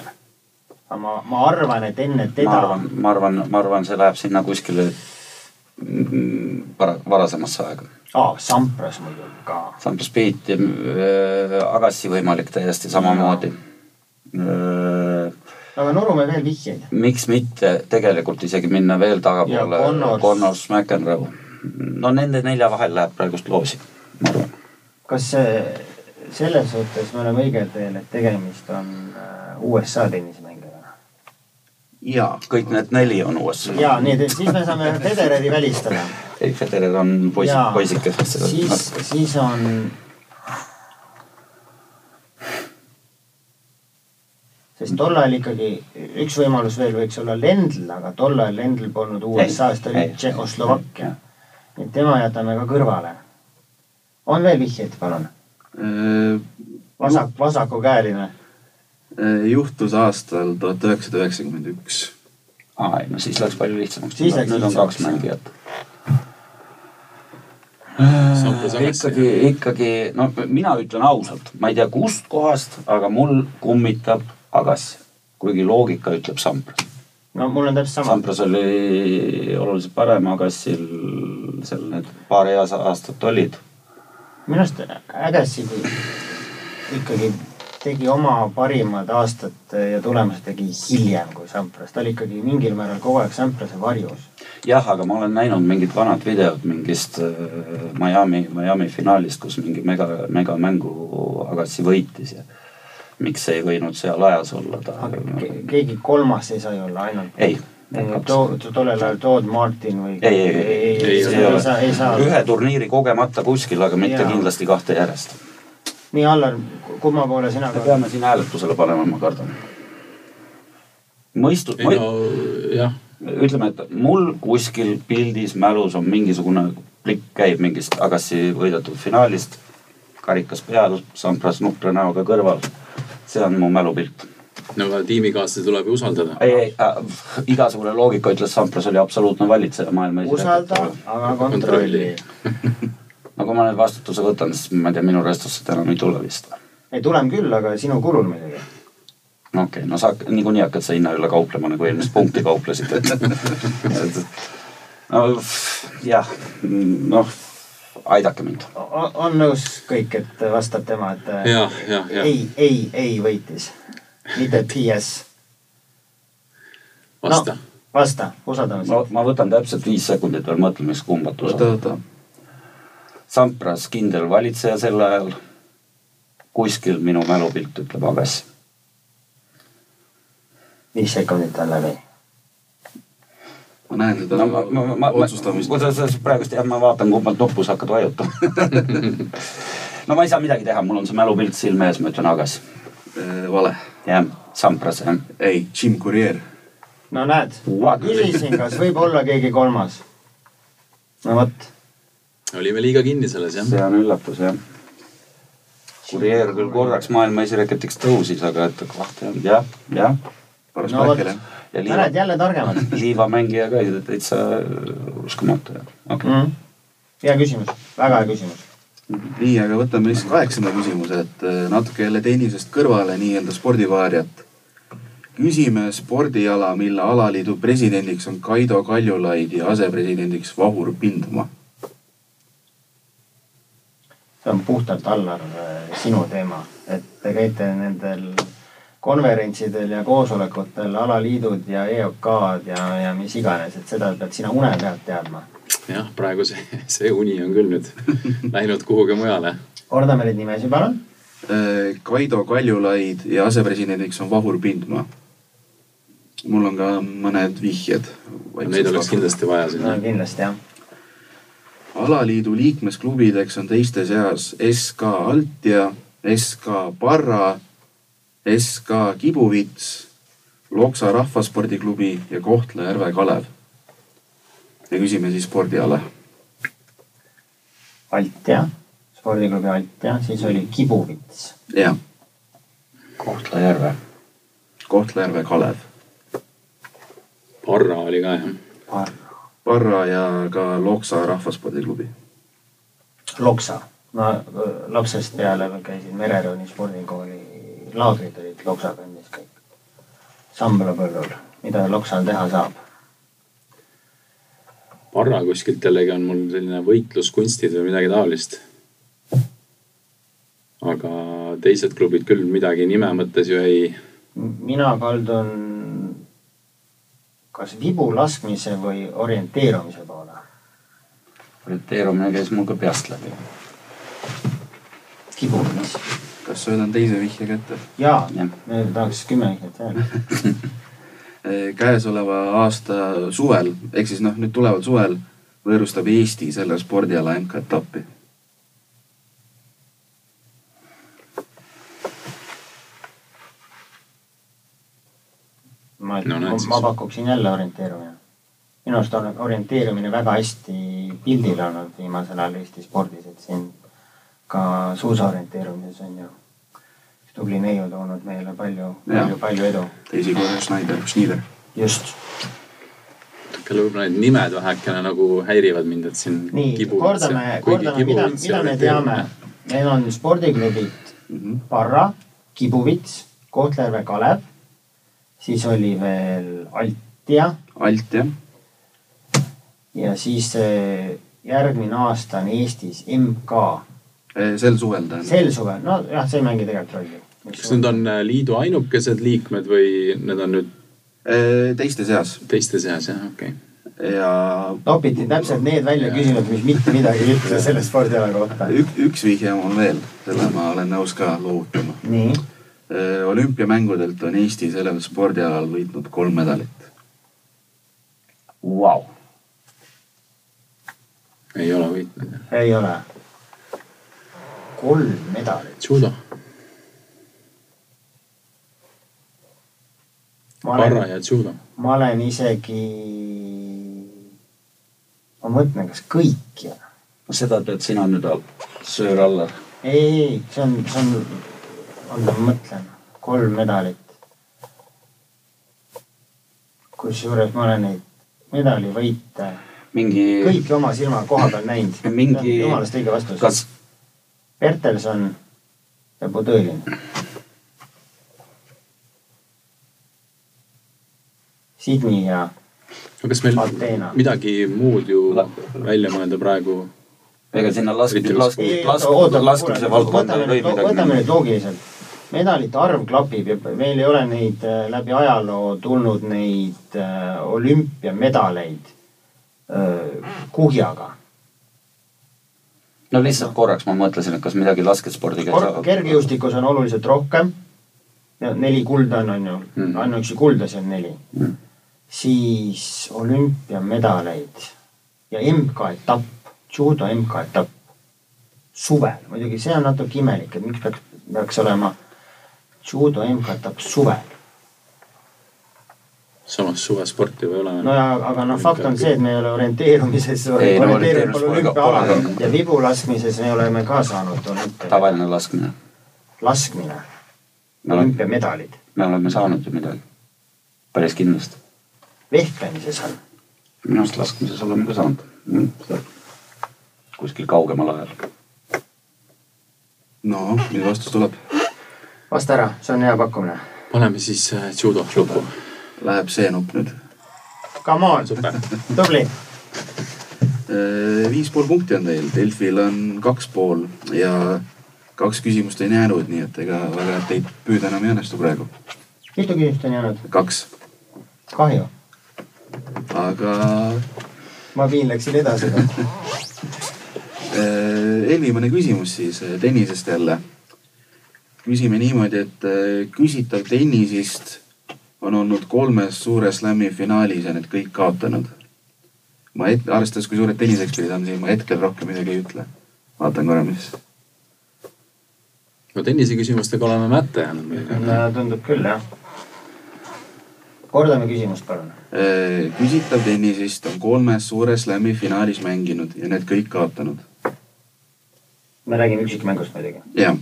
Speaker 4: aga ma , ma arvan , et enne
Speaker 6: ma
Speaker 4: teda
Speaker 6: arvan , ma arvan , ma arvan , see läheb sinna kuskile mm, vara- , varasemasse aega .
Speaker 4: aa , Sampras muidugi ka .
Speaker 6: Sampras Piit ja öö, Agassi võimalik täiesti samamoodi .
Speaker 4: aga Nurumäe veel vihjeid .
Speaker 6: miks mitte tegelikult isegi minna
Speaker 4: Ja
Speaker 6: veel tagapoole
Speaker 4: Connors.
Speaker 6: Connors , McEnroe . no nende nelja vahel läheb praegust loosi , ma arvan .
Speaker 4: kas see , selles suhtes me oleme õigel teel , et tegemist on äh, USA tennisemängijaga ?
Speaker 3: jaa .
Speaker 6: kõik need neli on USA .
Speaker 4: ja nii , et siis me saame Federeri välistada .
Speaker 6: ei , Federer on poiss
Speaker 4: Jaa. ,
Speaker 6: poisikesest
Speaker 4: siis , siis on . sest tol ajal ikkagi üks võimalus veel võiks olla Lendl , aga tol ajal Lendl polnud USA-s , ta oli
Speaker 6: Ei.
Speaker 4: Tšehhoslovakkia . et tema jätame ka kõrvale . on veel vihjeid , palun ?
Speaker 3: Eh,
Speaker 4: vasak , vasakukäeline .
Speaker 3: eh, juhtus aastal tuhat üheksasada üheksakümmend üks .
Speaker 6: aa , ei no siis läks palju lihtsamaks .
Speaker 4: Siis läks
Speaker 6: nüüd on kaks
Speaker 4: lihtsamaks, jah.
Speaker 6: mängijat .
Speaker 5: Sampras Agassi.
Speaker 6: Äh, ikkagi , ikkagi , no mina ütlen ausalt , ma ei tea kust kohast , aga mul kummitab Agassi . kuigi loogika ütleb Sampras .
Speaker 4: no mul on täpselt sama .
Speaker 6: Sampras oli oluliselt parem , Agassil seal need paar head aastat olid .
Speaker 4: minu arust Agassi ikkagi tegi oma parimad aastad ja tulemused tegi hiljem kui Sampras , ta oli ikkagi mingil määral kogu aeg Samprase varjus .
Speaker 6: jah , aga ma olen näinud mingit vanat videot mingist äh, Miami , Miami finaalist , kus mingi mega , megamängu Agassi võitis ja miks ei võinud seal ajas olla ta .
Speaker 4: keegi kolmas ei saa ju olla ainult .
Speaker 6: ei ,
Speaker 4: too , tollel ajal Todd Martin või ?
Speaker 6: ei , ei , ei ,
Speaker 4: ei , ei saa , ei saa .
Speaker 6: ühe turniiri kogemata kuskil , aga mitte
Speaker 4: Jaa.
Speaker 6: ja. kindlasti kahte järjest .
Speaker 4: nii , Allar , kumma poole sina
Speaker 6: me
Speaker 4: ka ?
Speaker 6: peame siin hääletusele panema , ma kardan . mõistu- ,
Speaker 5: ei no jah ,
Speaker 6: ütleme , et mul kuskil pildis mälus on mingisugune klikk käib mingist tagasi võidetud finaalist , karikas peal , Sampras nukra näoga kõrval . see on mu mälupilt .
Speaker 5: no aga tiimikaaslasi tuleb ju usaldada .
Speaker 6: ei , ei äh, , igasugune loogika ütles , Sampras oli absoluutne valitseja maailma
Speaker 4: usalda , aga kontrolli .
Speaker 6: no kui ma nüüd vastutuse võtan , siis ma ei tea , minu restorssed enam ei tule vist .
Speaker 4: ei , tuleme küll , aga sinu kulul muidugi .
Speaker 6: no okei okay, , no sa hak- niikuinii hakkad sa hinna üle kauplema nagu eelmist punkti kauplesid , et . no pff, jah , noh aidake mind .
Speaker 4: on nõus kõik , et vastab tema , et äh,
Speaker 5: jah , jah , jah .
Speaker 4: ei , ei , ei võitis . mitte PS .
Speaker 5: vasta no. .
Speaker 4: vasta , usaldame
Speaker 6: ma
Speaker 4: sind .
Speaker 6: ma võtan täpselt viis sekundit veel mõtlemiseks , kumba
Speaker 3: oota ,
Speaker 6: tuleb .
Speaker 3: oota .
Speaker 6: Sampras kindel valitseja sel ajal . kuskil minu mälupilt ütleb Agassi .
Speaker 4: viis sekundit on läbi .
Speaker 3: ma näen seda
Speaker 6: no ma , ma , ma , ma ,
Speaker 3: otsustamist .
Speaker 6: kuidas sa praegust jah , ma vaatan , kummalt nuppu sa hakkad vajutama . no ma ei saa midagi teha , mul on see mälupilt silme ees , ma ütlen Agassi .
Speaker 3: Äh, vale .
Speaker 6: jah , Sampras jah .
Speaker 3: ei , Jim Courier .
Speaker 4: no näed , ma küsisin , kas võib olla keegi kolmas . no vot .
Speaker 5: olime liiga kinni selles jah .
Speaker 6: see on üllatus jah . kurjeer küll korraks maailma esireketiks tõusis , aga et kahte on jah , jah .
Speaker 3: paras
Speaker 4: No
Speaker 3: no,
Speaker 4: vot.
Speaker 3: pähkel jah .
Speaker 6: ja
Speaker 4: näed ,
Speaker 6: liiva ,
Speaker 4: jälle targemad
Speaker 6: liivamängija ka täitsa uskumatu jah , okei
Speaker 4: mm. . hea küsimus , väga hea küsimus .
Speaker 3: nii , aga võtame siis kaheksanda küsimuse , et eh, natuke jälle tennisest kõrvale nii-öelda spordivaariat . küsime spordiala , mille alaliidu presidendiks on Kaido Kaljulaid ja asepresidendiks Vahur Pindmaa .
Speaker 4: see on puhtalt Allar , sinu teema , et te käite nendel konverentsidel ja koosolekutel alaliidud ja EOK-d ja , ja mis iganes , et seda pead sina une pealt teadma .
Speaker 5: jah , praegu see , see uni on küll nüüd läinud kuhugi mujale .
Speaker 4: kordame neid nimesid , palun .
Speaker 3: Äh, Kaido Kaljulaid ja asepresidendiks on Vahur Pindmaa . mul on ka mõned vihjed .
Speaker 5: Neid oleks kindlasti vaja siin
Speaker 4: no . kindlasti jah .
Speaker 3: alaliidu liikmesklubideks on teiste seas SK Altia , SK Parra , SK Kibuvits , Loksa Rahvaspordiklubi ja Kohtla-Järve Kalev . ja küsime siis spordiala .
Speaker 4: Altia , spordiklubi Altia , siis oli Kibuvits .
Speaker 3: jah ,
Speaker 6: okay. . Kohtla-Järve .
Speaker 3: Kohtla-Järve Kalev .
Speaker 5: Parra oli ka jah .
Speaker 3: Parra ja ka Loksa Rahvaspordiklubi .
Speaker 4: Loksa , ma öö, lapsest peale veel käisin Mererõõni spordikooli , laagrid olid Loksa kandis kõik . samblapõllul , mida Loksal teha saab ?
Speaker 5: Parra kuskilt jällegi on mul selline võitluskunstid või midagi taolist . aga teised klubid küll midagi nime mõttes ju ei .
Speaker 4: mina kaldun kas vibu laskmise või orienteerumise poole .
Speaker 6: orienteerumine käis mul ka peast läbi .
Speaker 4: kibumis .
Speaker 3: kas söödan teise vihje kätte ?
Speaker 4: jaa
Speaker 6: Jah. ,
Speaker 4: me tahaks kümme minutit veel .
Speaker 3: käesoleva aasta suvel , ehk siis noh , nüüd tuleval suvel võõrustab Eesti selle spordiala MK-etappi .
Speaker 4: ma
Speaker 5: No näed siis.
Speaker 4: ma pakuksin jälle orienteerumine . minu arust on orienteerumine väga hästi pildil olnud viimasel ajal Eesti spordis , et siin ka suusaorienteerumises on ju üks tubli neiu toonud meile palju , palju , palju edu .
Speaker 3: teisi korra Schneider , Schneider .
Speaker 4: just .
Speaker 5: kelle võib-olla need nimed vähekene nagu häirivad mind , et siin
Speaker 4: nii , kordame , kordame , mida , mida me teame . meil on spordiklubid
Speaker 5: Mhm.
Speaker 4: Parra , Kibuvits , Kohtla-Järve Kalev , siis oli veel Altia
Speaker 3: alt jah ,
Speaker 4: ja siis eh, järgmine aasta on Eestis MK
Speaker 3: E, sel suvel tähendab .
Speaker 4: sel suvel , nojah , see ei mängi tegelikult rolli .
Speaker 5: kas need on äh, liidu ainukesed liikmed või need on nüüd
Speaker 3: E, teiste seas
Speaker 5: teiste seas jah , okei okay. .
Speaker 3: ja
Speaker 4: topiti täpselt need välja küsinud , mis mitte midagi ei ütle selle spordiala kohta .
Speaker 3: ük, üks vihje on veel , selle ma olen nõus ka loovutama .
Speaker 4: nii ,
Speaker 3: Äh, olümpiamängudelt on Eesti sellel spordialal võitnud kolm medalit .
Speaker 6: Vau ,
Speaker 5: ei ole võitnud jah .
Speaker 4: ei ole . kolm medalit ,
Speaker 5: judo ,
Speaker 4: ma
Speaker 5: parra
Speaker 4: olen ,
Speaker 5: ja judo .
Speaker 4: ma olen isegi , ma mõtlen , kas kõik ja .
Speaker 6: seda tead sina nüüd , söör Allar .
Speaker 4: ei , ei , see on , see on , oota ma mõtlen , kolm medalit . kusjuures ma olen neid medalivõite
Speaker 6: mingi ,
Speaker 4: kõiki oma silmaga koha peal näinud .
Speaker 6: Mingi-
Speaker 4: jumalast õige vastus .
Speaker 6: kas
Speaker 4: Bertelson ja Podõlin . Sydney ja
Speaker 5: aga kas meil
Speaker 4: Ateena.
Speaker 5: midagi muud ju
Speaker 6: La-
Speaker 5: välja mõelda praegu ?
Speaker 6: ega sinna lask- ,
Speaker 5: Mitte
Speaker 6: lask- , lask- , laskmise valdkonda ei või midagi
Speaker 4: võtame
Speaker 6: minna.
Speaker 4: nüüd loogiliselt . medalite arv klapib ja meil ei ole neid äh, läbi ajaloo tulnud neid äh, olümpiamedaleid äh, kuhjaga .
Speaker 6: no lihtsalt korraks ma mõtlesin , et kas midagi laskespordiga ei saa .
Speaker 4: kergejõustikus on oluliselt rohkem . neli kulda on , on ju
Speaker 5: Mm.
Speaker 4: mm. , ainuüksi kuldasi on neli
Speaker 6: Mm.
Speaker 4: mm. . siis olümpiamedaleid ja MK-etapp , judo MK-etapp suvel , muidugi see on natuke imelik , et miks peaks , peaks olema judo MK-etapp suvel .
Speaker 5: samas suvesporti või ei ole ?
Speaker 4: no ja , aga noh , fakt on see , et me ei ole orienteerumises ,
Speaker 6: Ei, no
Speaker 4: orienteerunud pole
Speaker 6: orienteerumis pole ka-
Speaker 4: olümpiaalal
Speaker 6: pole ka.
Speaker 4: ja vibulaskmises me oleme ka saanud olümpia
Speaker 6: tavaline laskmine ,
Speaker 4: laskmine ,
Speaker 6: Me oleme-
Speaker 4: olümpiamedalid
Speaker 6: me oleme saanud ju midagi . päris kindlasti .
Speaker 4: vehklemises on .
Speaker 6: minu arust laskmises oleme ka saanud mm. . kuskil kaugemal ajal .
Speaker 3: no , minu Noh, vastus tuleb ,
Speaker 4: vasta ära , see on hea pakkumine .
Speaker 5: paneme siis äh, judo lukku .
Speaker 3: läheb see nupp nüüd .
Speaker 4: Come on ,
Speaker 5: super .
Speaker 4: tubli .
Speaker 3: Äh, viis pool punkti on teil , Delfil on kaks pool ja kaks küsimust on jäänud , nii et ega väga teid püüda enam ei õnnestu praegu .
Speaker 4: mitu küsimust on jäänud ?
Speaker 3: kaks ,
Speaker 4: kahju .
Speaker 3: aga
Speaker 4: ma viin läksin edasi .
Speaker 3: äh, eelviimane küsimus siis äh, tennisest jälle . küsime niimoodi , et äh, küsitav tennisist on olnud kolmes suure slam'i finaalis ja need kõik kaotanud . ma et- , arvestades , kui suured tenniseksperdid on siin , ma hetkel rohkem midagi ei ütle . vaatan korra , mis
Speaker 5: no tenniseküsimustega oleme mätta jäänud muidugi .
Speaker 4: Äh, tundub küll jah . kordame küsimust , palun .
Speaker 3: Äh, küsitav tennisist on kolmes suure slam'i finaalis mänginud ja need kõik kaotanud .
Speaker 4: me räägime üksikmängust muidugi .
Speaker 3: jah .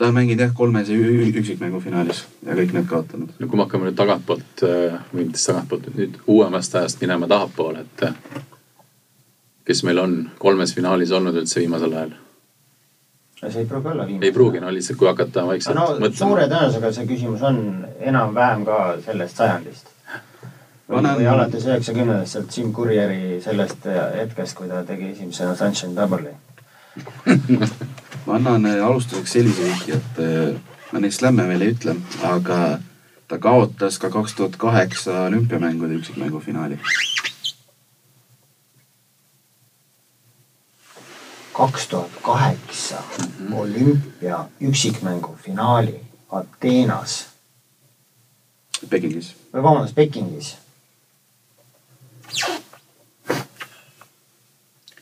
Speaker 3: ta on mänginud jah , kolmes ü- ü- üksikmängu finaalis ja kõik need kaotanud .
Speaker 5: no kui me hakkame nüüd tagantpoolt , või mitte siis tagantpoolt , nüüd uuemast ajast minema tahapoole , et äh, kes meil on kolmes finaalis olnud üldse viimasel ajal ?
Speaker 4: see ei pruugi olla viimane .
Speaker 5: ei pruugi , no lihtsalt kui hakata vaikselt
Speaker 4: no suure
Speaker 5: mõtlema .
Speaker 4: tõenäosusega see küsimus on enam-vähem ka sellest sajandist . või
Speaker 3: Panen-
Speaker 4: või alates üheksakümnendast , sealt Jim Courieri sellest hetkest , kui ta tegi esimesena Sunshine Double'i .
Speaker 3: ma annan eh, alustuseks sellise vihje , et eh, ma neid slämme veel ei ütle , aga ta kaotas ka kaks tuhat kaheksa olümpiamängude üksikmängu finaali .
Speaker 4: kaks tuhat kaheksa olümpia üksikmängu finaali Ateenas
Speaker 3: Pekingis .
Speaker 4: või vabandust , Pekingis .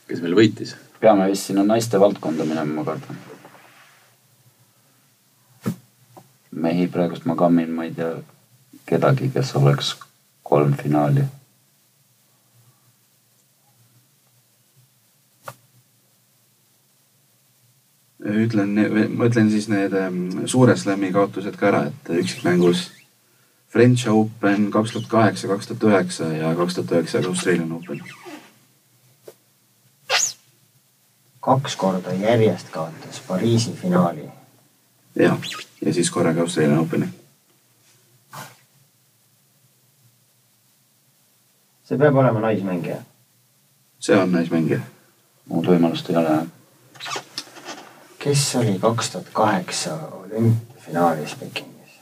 Speaker 5: kes meil võitis ?
Speaker 6: peame vist sinna naiste valdkonda minema , ma kardan . mehi praegust ma kammin , ma ei tea , kedagi , kes oleks kolm finaali .
Speaker 3: ütlen , ma ütlen siis need ähm, suure slam'i kaotused ka ära , et üksikmängus French Open kaks tuhat kaheksa , kaks tuhat üheksa ja kaks tuhat üheksa Australian Open .
Speaker 4: kaks korda järjest kaotas Pariisi finaali .
Speaker 3: jah , ja siis korraga Australian Openi .
Speaker 4: see peab olema naismängija .
Speaker 3: see on naismängija .
Speaker 6: muud võimalust ei ole .
Speaker 4: kes oli kaks tuhat kaheksa olümpiafinaalis Pekingis ?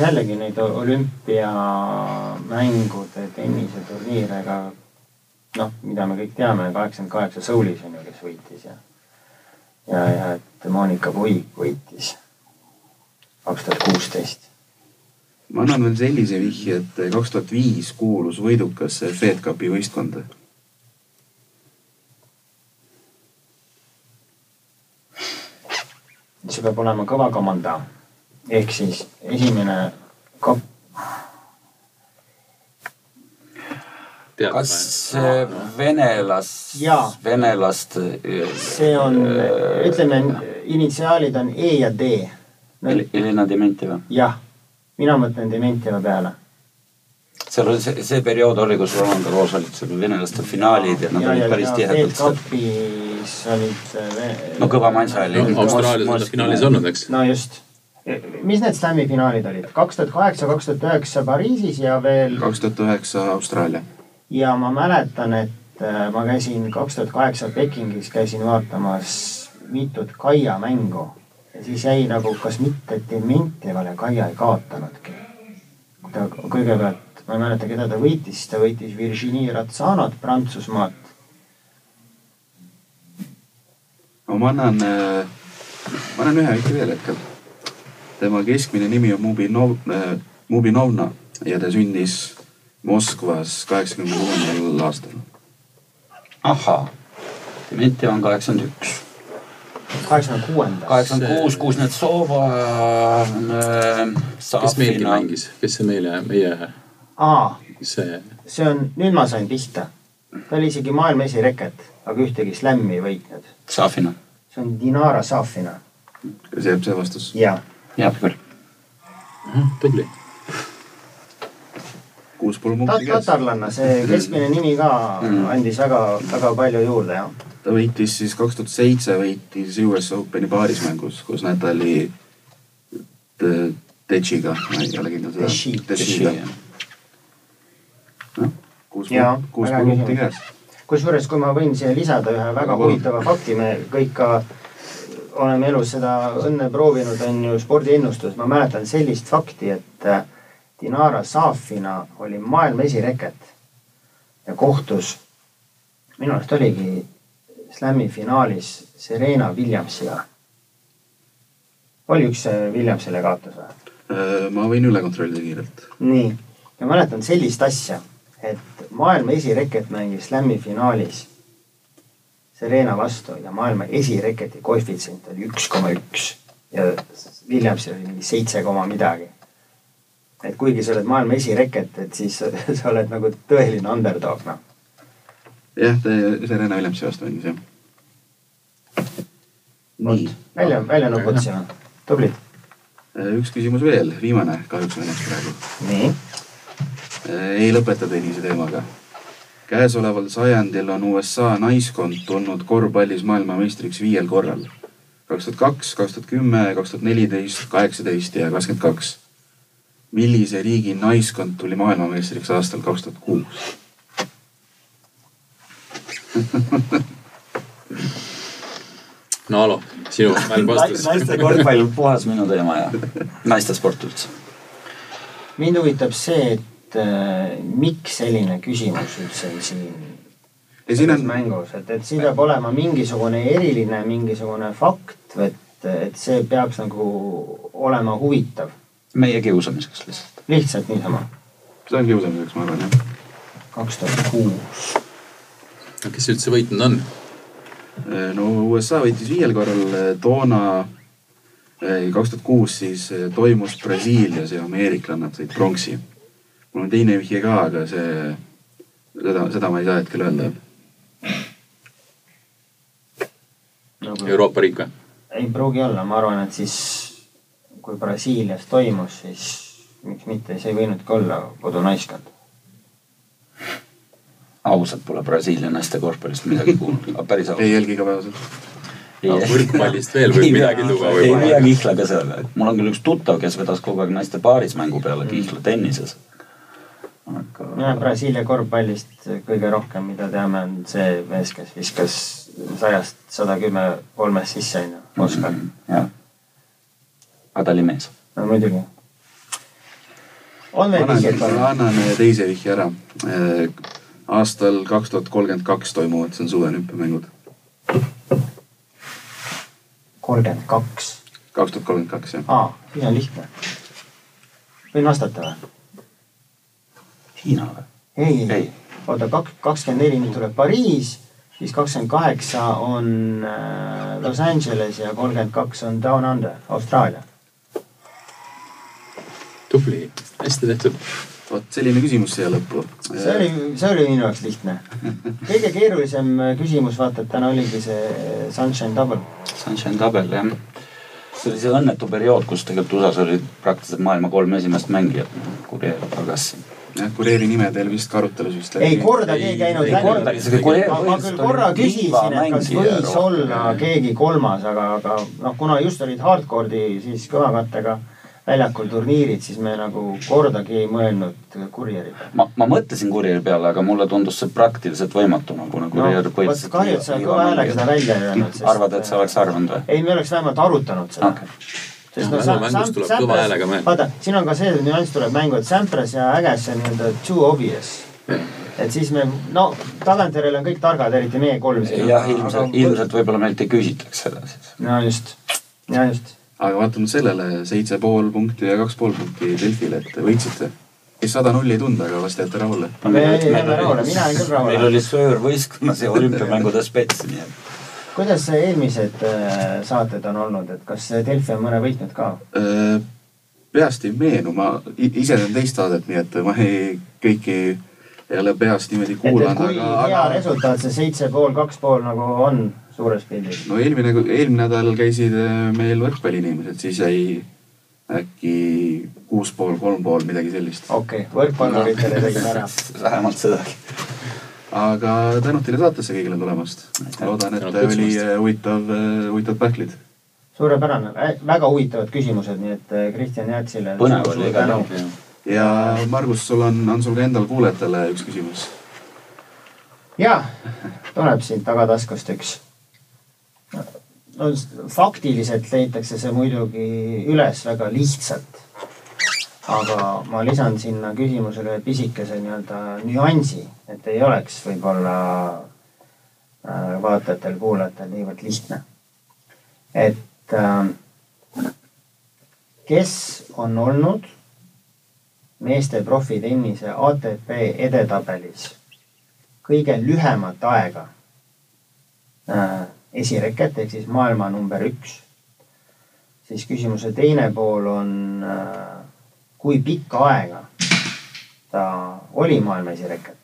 Speaker 4: jällegi neid o- olümpiamängude tenniseturniire , aga noh , mida me kõik teame , kaheksakümmend kaheksa Soulis on ju , kes võitis ja ja , ja et Monika Puik võitis kaks tuhat kuusteist .
Speaker 3: ma annan veel sellise vihje , et äh, kaks tuhat viis kuulus võidukasse Fed Cupi võistkonda .
Speaker 4: see peab olema kõva komando . ehk siis esimene kop- ,
Speaker 5: tead
Speaker 6: kas see venelas
Speaker 4: Jaa. ,
Speaker 6: venelast ?
Speaker 4: see on ,
Speaker 6: äh,
Speaker 4: ütleme , initsiaalid on E ja D .
Speaker 6: Elina Dementjeva .
Speaker 4: jah , mina mõtlen Dementjeva peale .
Speaker 6: seal oli see , see periood oli , kus Roland Garros olid seal venelaste finaalid ja nad olid päris tihedalt .
Speaker 4: kapis olid äh,
Speaker 6: no kõva mansa oli
Speaker 5: no, . Austraalias on ta finaalis olnud , eks .
Speaker 4: no just . mis need Slami finaalid olid ? kaks tuhat kaheksa , kaks tuhat üheksa Pariisis ja veel
Speaker 3: kaks tuhat üheksa Austraalia .
Speaker 4: ja ma mäletan , et äh, ma käisin kaks tuhat kaheksa Pekingis käisin vaatamas mitut Kaia mängu ja siis jäi nagu , kas mitte Dementjevale Kaia ei kaotanudki . kui ta kõigepealt , ma ei mäleta , keda ta võitis , siis ta võitis Virginie Ratsanot Prantsusmaalt .
Speaker 3: no ma annan , ma annan ühe vihje veel hetkel . tema keskmine nimi on Mubinov , Mubinovna ja ta sündis Moskvas kaheksakümne kuuendal aastal .
Speaker 6: ahhaa , Dementjev on kaheksakümmend üks .
Speaker 4: kaheksakümne kuuendas .
Speaker 6: kaheksakümmend kuus , kus need Soova äh, .
Speaker 5: kes meilgi mängis , kes see meile , meie
Speaker 4: aa ,
Speaker 5: see ,
Speaker 4: see on , nüüd ma sain pihta . ta oli isegi maailma esireket , aga ühtegi slämmi ei võitnud .
Speaker 6: Safina ,
Speaker 4: see on Dinara Safina .
Speaker 3: kas jääb see vastus ?
Speaker 4: jaa ,
Speaker 6: hea küll .
Speaker 5: tubli .
Speaker 3: kuus pool punkti käes . Mhm.
Speaker 4: tatarlanna , see keskmine nimi ka andis väga , väga palju juurde jah .
Speaker 3: ta võitis siis kaks tuhat seitse võitis US Openi paarismängus , kus Natali T- Tetšiga , ma ei ole kindel
Speaker 4: Teši.
Speaker 3: seda . Tetšiga . noh , kuus ,
Speaker 4: Jaa,
Speaker 3: kuus
Speaker 4: väga
Speaker 3: pool punkti
Speaker 4: küsimus.
Speaker 3: käes .
Speaker 4: kusjuures , kui ma võin siia lisada ühe väga
Speaker 3: Palun.
Speaker 4: huvitava fakti , me kõik ka oleme elus seda õnne proovinud , on ju spordiennustus , ma mäletan sellist fakti , et äh, Dinara Safina oli maailma esireket ja kohtus , minu arust oligi slam'i finaalis Serena Williamsiga . oli üks see Williamsile kaotus või ?
Speaker 3: Äh, ma võin üle kontrollida kiirelt .
Speaker 4: nii , ja mäletan sellist asja , et maailma esireket mängis Slami finaalis Serena vastu ja maailma esireketi koefitsient oli üks koma üks ja Williamsil oli mingi seitse koma midagi . et kuigi sa oled maailma esireket , et siis sa oled nagu tõeline underdog noh .
Speaker 3: jah , ta Serena Williamsi vastu mängis jah . nii ,
Speaker 4: välja , välja nuputasime , tublid .
Speaker 3: äh, üks küsimus veel , viimane kahjuks õnneks praegu .
Speaker 4: nii ,
Speaker 3: ei lõpeta tennise teemaga . käesoleval sajandil on USA naiskond tulnud korvpallis maailmameistriks viiel korral . kaks tuhat kaks , kaks tuhat kümme , kaks tuhat neliteist , kaheksateist ja kakskümmend kaks . millise riigi naiskond tuli maailmameistriks aastal kaks tuhat kuus ?
Speaker 5: no Alo , sinu mäng vastus .
Speaker 6: naiste korvpall on puhas minu teema ja naistesport üldse .
Speaker 4: mind huvitab see , et äh, miks selline küsimus üldse siin
Speaker 3: ja siin on ,
Speaker 4: mängus , et , et siin peab olema mingisugune eriline mingisugune fakt , et , et see peaks nagu olema huvitav ,
Speaker 6: meie kiusamiseks lihtsalt .
Speaker 4: lihtsalt niisama .
Speaker 3: see on kiusamiseks , ma arvan jah .
Speaker 4: kaks tuhat kuus ,
Speaker 5: kes üldse võitnud on ?
Speaker 3: Äh, no USA võitis viiel korral äh, toona , kaks tuhat kuus siis äh, toimus Brasiilias ja ameeriklannad said pronksi . mul on teine vihje ka , aga see , seda , seda ma ei saa hetkel öelda .
Speaker 5: Euroopa riik või ?
Speaker 4: Nagu ei pruugi olla , ma arvan , et siis kui Brasiilias toimus , siis miks mitte , see ei võinudki olla kodunaiskond .
Speaker 6: ausalt pole Brasiilia naiste korvpallist midagi kuulnud , aga päris
Speaker 3: ei
Speaker 6: ausalt .
Speaker 3: jälgi igapäevaselt .
Speaker 5: võrkpallist veel võib midagi tuua
Speaker 6: ei pea
Speaker 5: võib-olla .
Speaker 6: kihlaga seal , mul on küll üks tuttav , kes vedas kogu aeg naiste paaris mängu peale kihla tennises .
Speaker 4: mina
Speaker 6: aga
Speaker 4: Brasiilia korvpallist kõige rohkem , mida teame , on see mees , kes viskas sajast sada kümme kolmest sisse , onju , Oskar .
Speaker 3: Mhm.
Speaker 6: jah , aga ta oli mees .
Speaker 4: no muidugi . on veel vihjeid
Speaker 3: annan ,
Speaker 4: ka ?
Speaker 3: annan äh, teise vihje ära . aastal kaks tuhat kolmkümmend kaks toimuvad , see on suveolümpiamängud .
Speaker 4: kolmkümmend kaks .
Speaker 3: kaks tuhat kolmkümmend kaks jah .
Speaker 4: aa , siis on lihtne . võin vastata või ?
Speaker 6: Hiina või ?
Speaker 4: ei
Speaker 6: Ei. ,
Speaker 4: oota , kaks , kakskümmend neli nüüd tuleb Pariis , siis kakskümmend kaheksa on äh, Los Angeles ja kolmkümmend kaks on Down Under , Austraalia .
Speaker 5: tubli , hästi tehtud .
Speaker 3: vot selline küsimus siia lõppu .
Speaker 4: see oli , see oli minu jaoks lihtne . kõige keerulisem äh, küsimus , vaata , et täna oligi see Sunshine Double .
Speaker 6: Sunshine Double jah . see oli see õnnetu periood , kus tegelikult USA-s olid praktiliselt maailma kolm esimest mängijat , Kurjeva tagasi .
Speaker 3: jah , kureeri nime teil vist ka arutelus vist
Speaker 4: ei
Speaker 3: läbi .
Speaker 4: korda
Speaker 5: ei-
Speaker 4: keegi ainult
Speaker 5: ei
Speaker 4: läbi .
Speaker 5: kordagi.
Speaker 4: ma ma küll korra küsisin , et kas võis olla keegi kolmas , aga , aga noh , kuna just olid hardcore'i siis kõvakattega väljakul turniirid , siis me nagu kordagi ei mõelnud kurjeri peale .
Speaker 6: ma , ma mõtlesin Kurjeri peale , aga mulle tundus see praktiliselt võimatuna , kuna Kurjer
Speaker 4: No, vot kahju, et sa kõva häälega seda välja ei öelnud, sest-
Speaker 6: arvad , et sa oleks arvanud või ?
Speaker 4: ei , me oleks vähemalt arutanud seda
Speaker 6: Okei.
Speaker 5: Jah, mängu- mängus tuleb kõva häälega meelde.
Speaker 4: vaata , siin on ka see nüanss tuleb mängu , et Sampras ja Äges on nii-öelda too obvious . et siis me , no tagantjärele on kõik targad , eriti meie kolm siin .
Speaker 6: jah , ilmselt , ilmselt võib-olla meilt ei küsitaks seda siis .
Speaker 4: no just , ja just .
Speaker 3: aga vaatamata sellele seitse pool punkti ja kaks pool punkti Delfile , et võitsite . kes sada nulli ei tundnud , aga vast jäite rahule .
Speaker 4: Me ei ole rahul, mina olen küll rahul.
Speaker 6: meil oli söör võistkonnas ja olümpiamängude spets , nii et
Speaker 4: kuidas see eelmised äh, saated on olnud , et kas Delfi on mõne võitnud ka ?
Speaker 3: Äh, peast ei meenu , ma i- ise teen teist saadet , nii et ma ei , kõiki ei ole peast niimoodi
Speaker 4: et , et
Speaker 3: kuulanud ,
Speaker 4: kui
Speaker 3: aga ,
Speaker 4: hea
Speaker 3: aga
Speaker 4: resultaat see seitse pool , kaks pool nagu on suures pildis ?
Speaker 3: no eelmine , eelmine nädal käisid äh, meil võrkpalliinimesed , siis jäi äkki kuus pool , kolm pool , midagi sellist .
Speaker 4: okei okay, , võrkpalluritele tegime ära .
Speaker 6: vähemalt sedagi .
Speaker 3: aga tänud teile saatesse kõigile tulemast . loodan , et
Speaker 5: Tänud
Speaker 3: oli
Speaker 5: kutsumast.
Speaker 3: äh, huvitav , huvitavad pähklid .
Speaker 4: suurepärane , väga huvitavad küsimused , nii et äh, Kristjan Jäätsile .
Speaker 6: põnev oli igal juhul .
Speaker 3: ja Margus , sul on , on sul ka endal kuulajatele üks küsimus ?
Speaker 4: jaa , tuleb siit tagataskust üks . no s- faktiliselt leitakse see muidugi üles väga lihtsalt . aga ma lisan sinna küsimusele pisikese nii-öelda nüansi , et ei oleks võib-olla äh, vaatajatel-kuulajatel niivõrd lihtne . et äh, kes on olnud meeste profitennise ATP edetabelis kõige lühemat aega äh, esireket ehk siis maailma number üks . siis küsimuse teine pool on äh, , kui pikka aega ta oli maailma esireket .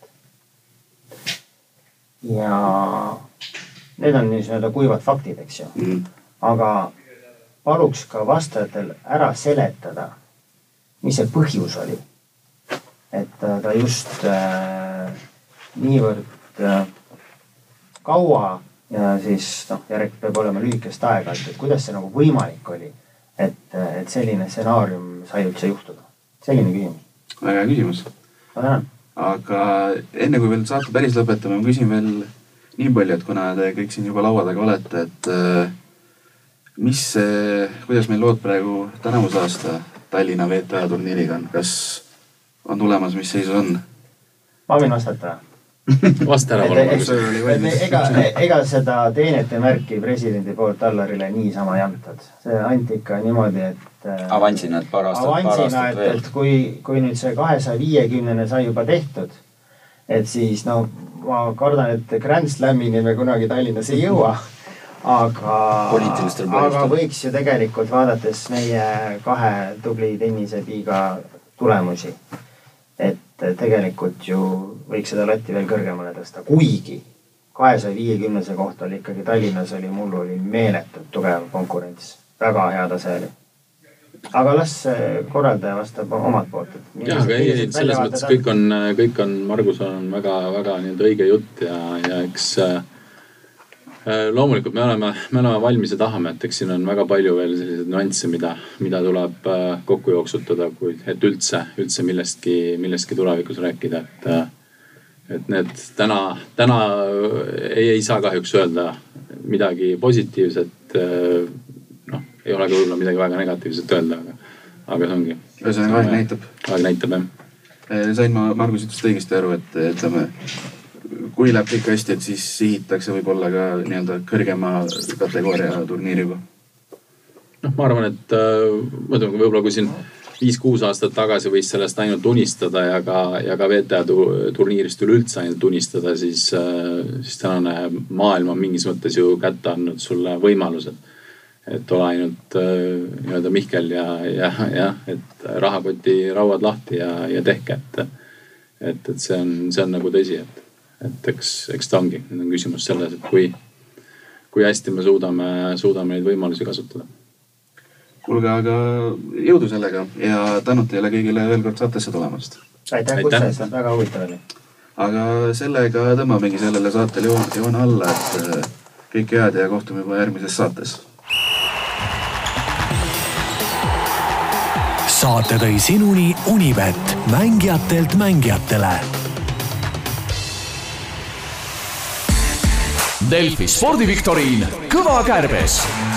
Speaker 4: ja need on nii-öelda kuivad faktid , eks ju , aga paluks ka vastajatel ära seletada , mis see põhjus oli , et äh, ta just äh, niivõrd äh, kaua ja siis noh , järg peab olema lühikest aega , et , et kuidas see nagu võimalik oli , et , et selline stsenaarium sai üldse juhtuda . selline küsimus .
Speaker 3: väga hea küsimus
Speaker 4: ma tänan .
Speaker 3: aga enne kui veel saate päris lõpetame , ma küsin veel nii palju , et kuna te kõik siin juba laua taga olete , et äh, mis , kuidas meil lood praegu tänavuse aasta Tallinna VTA turniiriga on , kas on tulemas , mis seisus on ?
Speaker 4: ma võin vastata .
Speaker 5: vasta ära palun .
Speaker 4: ega , ega seda teenete märki presidendi poolt Allarile niisama ei antud . see anti ikka niimoodi , et äh,
Speaker 6: avansina , et paar aastat , paar
Speaker 4: avansina ,
Speaker 6: aastat
Speaker 4: et ,
Speaker 6: veel
Speaker 4: et . kui , kui nüüd see kahesaja viiekümnene sai juba tehtud , et siis no ma kardan , et Grand Slamini me kunagi Tallinnas ei jõua . aga ,
Speaker 6: Poliitilistel
Speaker 4: aga
Speaker 6: põhjustel.
Speaker 4: võiks ju tegelikult vaadates meie kahe tubli tenniseliiga tulemusi , et tegelikult ju võiks seda latti veel kõrgemale tõsta , kuigi kahesaja viiekümnese kohta oli ikkagi Tallinnas oli , mul oli meeletult tugev konkurents , väga hea tase oli . aga las see korraldaja vastab omalt poolt , et .
Speaker 5: jah , aga ei , ei selles mõttes kõik on , kõik on , Margusel on väga-väga nii-öelda õige jutt ja , ja eks äh, äh, loomulikult me oleme , me oleme valmis ja tahame , et eks siin on väga palju veel selliseid nüansse , mida , mida tuleb äh, kokku jooksutada , kui , et üldse , üldse millestki , millestki tulevikus rääkida , et äh, et need täna , täna ei , ei saa kahjuks öelda midagi positiivset . noh , ei ole ka võib-olla midagi väga negatiivset öelda , aga , aga see ongi .
Speaker 3: ühesõnaga aeg näitab .
Speaker 5: aeg näitab jah .
Speaker 3: sain ma Margus jutust õigesti aru , et ütleme , kui läheb kõik hästi , et siis sihitakse võib-olla ka nii-öelda kõrgema kategooria turniiri juba .
Speaker 5: noh , ma arvan , et äh, ma ütlen , võib-olla kui siin viis-kuus aastat tagasi võis sellest ainult unistada ja ka , ja ka VTA tu- turniirist üleüldse ainult unistada , siis äh, , siis tänane maailm on mingis mõttes ju kätte andnud sulle võimalused . et ole ainult äh, nii-öelda Mihkel ja , ja , jah , et rahakoti rauad lahti ja , ja tehke , et et , et see on , see on nagu tõsi , et , et eks , eks ta ongi , nüüd on küsimus selles , et kui , kui hästi me suudame , suudame neid võimalusi kasutada .
Speaker 3: kuulge , aga jõudu sellega ja tänud teile kõigile veel kord saatesse tulemast .
Speaker 4: aitäh kutse eest , väga huvitav oli .
Speaker 3: aga sellega tõmbamegi sellele saatele joon , joone alla , et äh, kõike head ja kohtume juba järgmises saates
Speaker 1: saate tõi sinuni Unibet , mängijatelt mängijatele
Speaker 2: Delfi spordiviktoriin Kõva kärbes